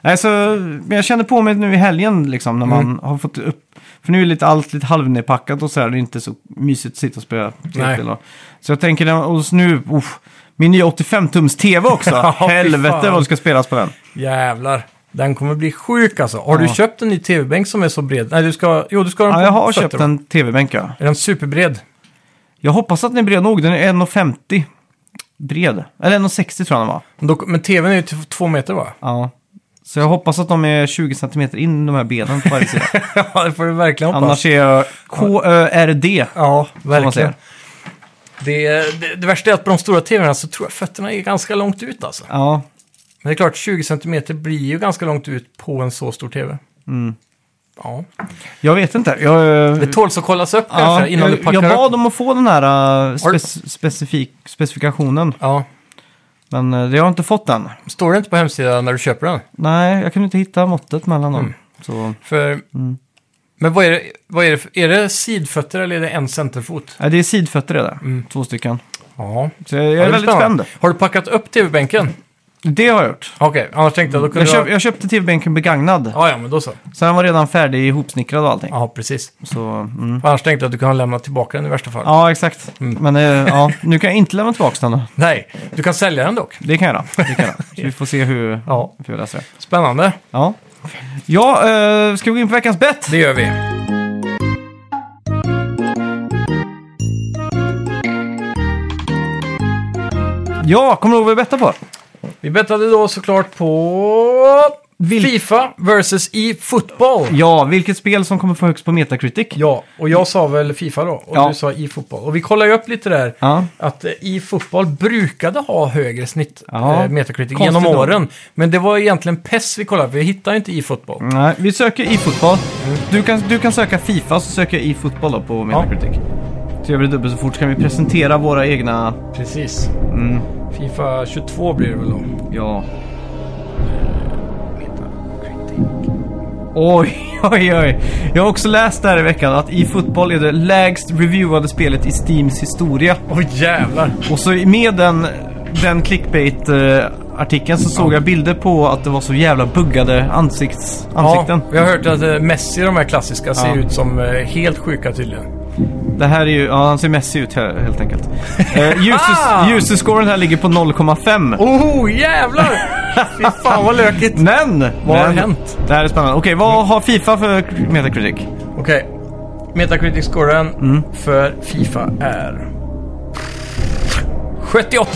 Nej, så, men jag kände på mig nu i helgen liksom när man
Mm.
har fått upp... För nu är lite allt lite halvnedpackat och så här, det är inte så mysigt att sitta och spela
Nej.
tv Så jag tänker, och så nu, uff, min nya 85-tums tv också.
Ja, fy
Helvete
fan.
vad det ska spelas på den.
Jävlar. Den kommer bli sjuk alltså. Har
Ja.
du köpt en ny tv-bänk som är så bred? Nej, du ska... Jo, du ska ha den
Ja,
på
jag har
fötter,
köpt
va?
en tv-bänk ja.
Är den superbred?
Jag hoppas att den är bred nog, den är 1,50 bred. Eller 1,60 tror jag den var.
Men då- Men tvn är ju typ två meter va?
Ja. Så jag hoppas att de är 20 cm in de här benen på varje sida.
ja, det får du verkligen hoppas.
Annars är jag KÖRD.
Ja,
man säga.
verkligen. Det, det, det värsta är att på de stora tvn så tror jag fötterna är ganska långt ut alltså.
Ja,
Men det är klart, 20 cm blir ju ganska långt ut på en så stor tv.
Mm.
Ja.
jag vet inte. Jag, eh,
Det tåls att kollas upp
ja,
kanske innan
jag,
du packar
jag bad
upp.
dem att få den här eh,
Har du-
spec- specifik, specifikationen,
Ja.
men eh, det har jag inte fått den.
Står det inte på hemsidan när du köper den?
Nej, jag kunde inte hitta måttet mellan
Mm.
dem. Så,
För...
Mm.
Men vad är det, vad är det för, Är det sidfötter eller är det en centerfot?
nej, äh, det är sidfötter är det, två stycken.
Ja.
Så jag, jag
Mm. Ja,
är
det
väldigt
spännande.
spänd.
Har du packat upp tv-bänken?
Det har jag gjort.
Okej, annars tänkte jag då kunde
Mm. Jag,
du...
köp,
ha-
jag köpte tv-bänken begagnad,
Ja, ja, men då så.
så den var redan färdig ihopsnickrad och allting.
Ja, precis.
Så, mm.
För annars tänkte jag att du kan lämna tillbaka den i värsta fall.
Ja, exakt.
Mm.
Men eh, ja, nu kan jag inte lämna tillbaka den. då.
Nej, du kan sälja den dock.
Det kan jag göra. Det kan jag göra. Så vi får se hur,
Ja.
hur jag löser det.
Spännande.
Ja, ja eh, ska vi gå in på veckans bett?
Det gör vi.
Ja, kommer du ihåg vad vi bettade på?
Vi bettade då såklart på... Fifa versus e-fotboll.
Ja, vilket spel som kommer få högst på Metacritic?
Ja, och jag sa väl Fifa då och
Ja.
du sa e-fotboll. Och vi kollade ju upp lite där
Ja.
att eh, e-fotboll brukade ha högre snitt
Ja.
eh, Metacritic
Konstigt
genom
nog.
åren. Men det var egentligen PES vi kollade, för vi hittade ju inte e-fotboll.
Nej, vi söker i fotboll. Du, kan, du kan söka Fifa, så söker jag i fotboll då på Metacritic. Så gör vi det dubbelt så fort så kan vi presentera våra egna...
Precis. Fifa 22 blir det väl då.
Ja... Oj, oj, oj. Jag har också läst där i veckan att i fotboll är det lägst reviewade spelet i Steams historia.
Åh jävlar!
Och så med den, den clickbait-artikeln så såg jag bilder på att det var så jävla buggade ansikts, ansikten.
Ja, vi har hört att eh, Messi, de här klassiska, ser
Ja.
ut som eh, helt sjuka tydligen.
Det här är ju, ja han ser Messi ut he- helt enkelt. Eh,
Ah!
user- User-scoren här ligger på 0,5.
Oh jävlar! Fy fan vad lökigt!
Men!
Vad har
men,
hänt?
Det här är spännande. Okej, vad har Fifa för Metacritic?
Okej. Metacritic-scoren för Fifa är... 78!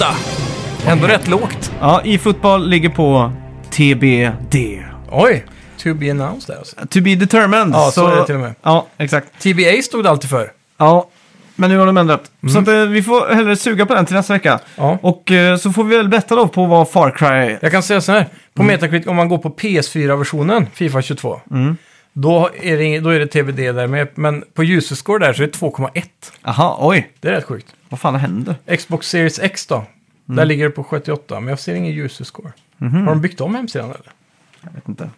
Ändå rätt lågt.
Ja, i fotboll ligger på TBD.
Oj! To be announced där alltså.
To be determined.
Ja, så är det till och med.
Ja, exakt.
TBA stod det alltid för.
Ja, men nu har de ändrat. Så att, eh, vi får hellre suga på den till nästa vecka.
Mm. Ja.
Och eh, så får vi väl betta då på vad Far Cry...
Jag kan säga så här.
Mm.
På Metacritic, om man går på PS4-versionen, Fifa 22,
Mm.
då, är det, då är det TBD där med. Men på user-score där så är det 2,1.
Aha, oj.
Det är rätt sjukt.
Vad fan händer?
Xbox Series X då?
Mm.
Där ligger det på 78, men jag ser ingen user-score.
Mhm.
Har de byggt om hemsidan eller?
Jag vet inte.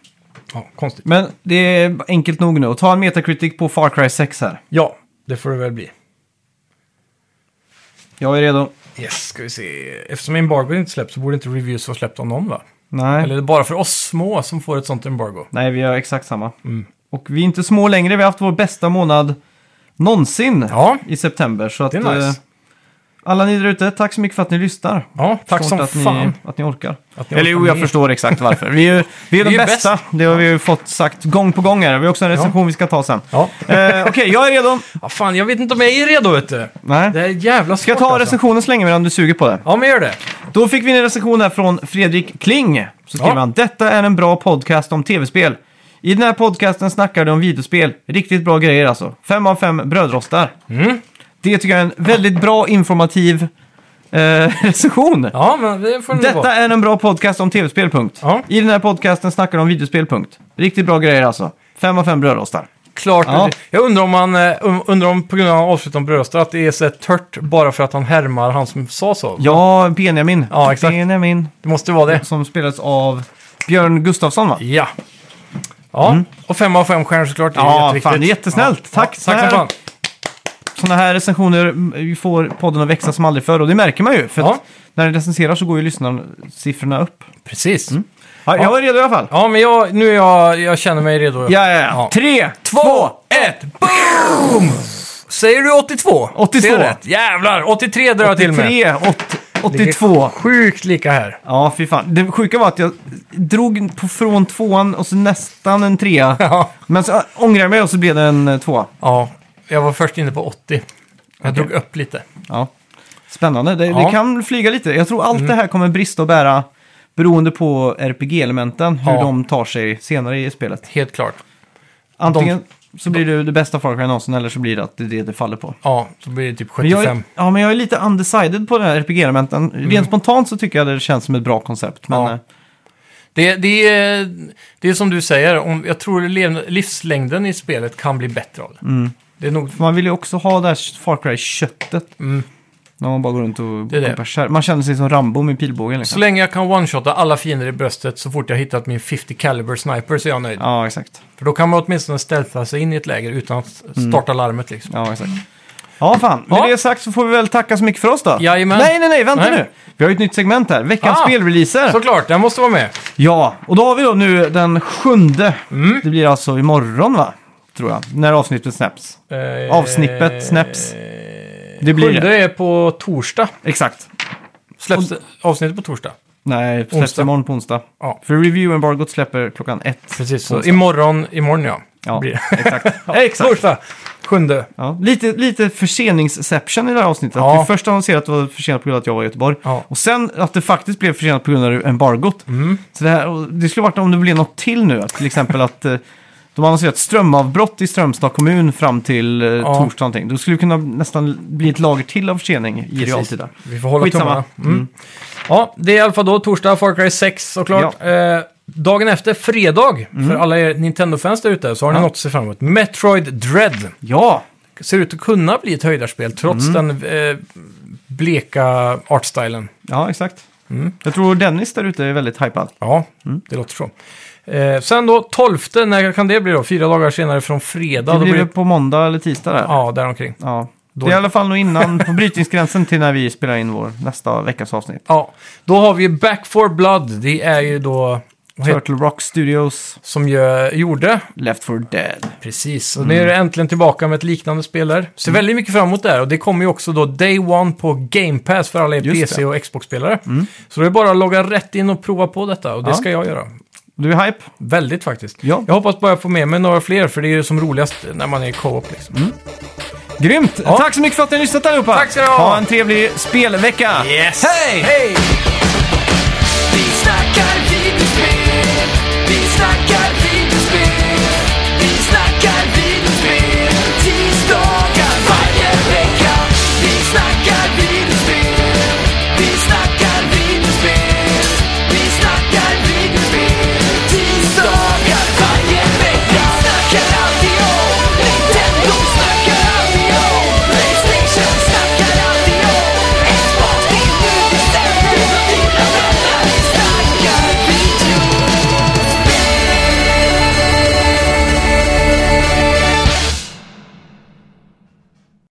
Ja, konstigt.
Men det är enkelt nog nu. Ta en Metacritic på Far Cry 6 här.
Ja, det får det väl bli.
Jag är redo.
Yes, ska vi se. Eftersom embargo inte släpps så borde inte reviews vara släppt av någon va?
Nej.
Eller är det bara för oss små som får ett sånt embargo?
Nej, vi gör exakt samma.
Mm.
Och vi är inte små längre. Vi har haft vår bästa månad någonsin
Ja,
i september. Så att,
det är nice.
eh, Alla ni där ute, tack så mycket för att ni lyssnar.
Ja, tack
Förstår
som
inte att
fan.
Ni, att ni orkar.
Att ni
Eller
orkar
jo, jag
med.
förstår exakt varför. Vi är ju vi är de
Vi är
bästa. Det har vi ju fått sagt gång på gång här. Vi har också en recension vi ska ta sen.
Ja.
Eh, Okej, jag är redo.
ja, fan jag vet inte om jag är redo vet du. Det
Nej.
är jävla svårt
Ska jag ta
alltså.
recensionen så länge medan du suger på det?
Ja, men gör det.
Då fick vi en recension här från Fredrik Kling. Så skriver
Ja.
han, detta är en bra podcast om tv-spel. I den här podcasten snackar du om videospel. Riktigt bra grejer alltså. Fem av fem brödrostar.
Mm.
Det tycker jag är en väldigt bra informativ eh, recension.
Ja, men det får det nog
Detta
vara.
är en bra podcast om tv-spel. punkt.
Ja.
I den här podcasten snackar de om videospel. punkt. Riktigt bra grejer alltså. Fem av fem brödrostar.
Klart.
Ja.
Jag undrar om han, eh, um- undrar om på grund av avslutet om bröstet, att det är så här tört bara för att han härmar han som sa så.
Ja, Benjamin.
Ja, exakt.
Benjamin,
Det måste vara det.
som spelades av Björn Gustafsson va?
Ja. Ja, och fem av fem stjärnor såklart. Det är
Mm. Ja,
jätteviktigt.
fan, det är jättesnällt. Tack,
tack
här-
som fan.
sådana här recensioner mm, får podden att växa som aldrig förr. Och det märker man ju. För
Ja.
att när den recenserar så går ju lyssnarsiffrorna upp.
Precis.
Mm. Ja, Jag
Ja.
var redo i alla fall.
Ja, men jag, nu är jag, jag känner mig redo.
Ja, ja, ja. Tre,
Två,
två,
ett, boom! Säger du 82?
82.
Ser jag rätt? Jävlar, 83 drar jag till med.
tre, åt, 82.
Sjukt lika här.
Ja, fy fan. Det sjuka var att jag drog på från tvåan och så nästan en trea.
Ja.
Men så äh, ångrade jag mig och så blev det en eh, tvåa.
ja, jag var först inne på 80. Jag drog upp lite.
Ja. Spännande. Det, det
Ja. Mm.
kan flyga lite. Jag tror allt det här kommer brista och bära beroende på RPG-elementen. Hur
Ja.
de tar sig senare i spelet.
Helt klart.
Antingen så blir det det bästa Far Cry någonsin eller så blir det att det är det det faller på.
Ja, så blir det typ
Men
75.
jag, är, ja, men jag är lite undecided på den här RPG-elementen. Rent spontant så tycker jag det känns som ett bra koncept. Men
Mm. Ja.
eh,
Det, det, är, det är som du säger, om, jag tror lev- livslängden i spelet kan bli bättre av det.
Mm.
Det är nog...
för man vill ju också ha det här Far Cry-köttet.
Mm.
När man bara går runt och
Det är det.
pumpar skär- Man känner sig som Rambo med pilbågen.
Så
Liksom.
länge jag kan one-shotta alla fiender i bröstet så fort jag hittat min 50 caliber sniper så är jag nöjd.
Ja, exakt.
För då kan man åtminstone ställa sig in i ett läger utan att starta larmet liksom.
Mm. Ja, exakt. Ja, fan. Med
Ja.
det sagt så får vi väl tacka så mycket för oss då.
Jajamän.
Nej, nej, nej, vänta
Nej.
nu. Vi har ju ett nytt segment här. Veckans
Ah.
spelreleaser.
Såklart, den måste vara med.
Ja, och då har vi då nu den sjunde.
Mm.
Det blir alltså imorgon va? Tror jag. När avsnittet snaps.
Eh,
Avsnippet, snaps. Det blir
Sjunde
det.
är på torsdag.
Exakt.
Släpps avsnittet på torsdag?
Nej, släpps
Onsdag.
imorgon på onsdag.
Ja.
För review-embargot släpper klockan ett.
Precis, så
Onsdag.
imorgon, imorgon ja.
Ja,
Blir det.
exakt. exakt.
Torsdag, sjunde.
Ja. Lite, lite förseningsception i det här avsnittet.
Ja.
Att vi först annonserade att det var försenat på grund av att jag var i Göteborg.
Ja. Mm.
Och sen att det faktiskt blev försenat på grund av embargot. Så det, här, och det skulle varit om det blev något till nu. Att till exempel att eh, de annonserat strömavbrott i Strömstad kommun fram till eh,
Ja.
torsdag. Någonting. Då skulle det kunna nästan bli ett lager till av försening i realtid. där.
Vi får hålla
Skitsamma.
tummarna. Mm. Ja, det är i alla fall då torsdag, Far Cry 6 såklart. Eh, dagen efter, fredag, för alla er Nintendo-fans där ute, så har ni
Mm. Ja.
något att se fram emot. Metroid Dread
Ja,
ser ut att kunna bli ett höjdarspel trots
Mm.
den eh, bleka artstylen.
ja exakt. Jag tror Dennis där ute är väldigt hypad.
Mm. Ja,
Mm.
det låter så. Eh, sen då 12, när kan det bli då? Fyra dagar senare från fredag.
Det
då
blir väl på måndag eller tisdag där.
Ja, däromkring.
Ja. Det är i
Dåligt.
alla fall nog innan, på brytningsgränsen till när vi spelar in vår nästa veckas avsnitt.
Ja, då har vi ju Back for Blood. Det är ju då... Vad heter,
Turtle Rock Studios
som gör, gjorde.
Left 4 Dead.
Precis, och nu
Mm.
är det äntligen tillbaka med ett liknande spel där. Ser väldigt mycket fram emot det här och det kommer ju också då Day One på Game Pass för alla er
Just
PC
det. Mm.
och Xbox-spelare. Så det är bara att logga rätt in och prova på detta och det
Ja.
ska jag göra.
Du är hype?
Väldigt faktiskt.
Ja.
Jag hoppas bara få med mig några fler för det är ju som roligast när man är i co-op liksom.
Mm. Grymt!
Ja.
Tack så mycket för att ni har lyssnat allihopa!
Tack ska ni ha!
en trevlig spelvecka!
Yes!
Hej!
Hej!
Vi snackar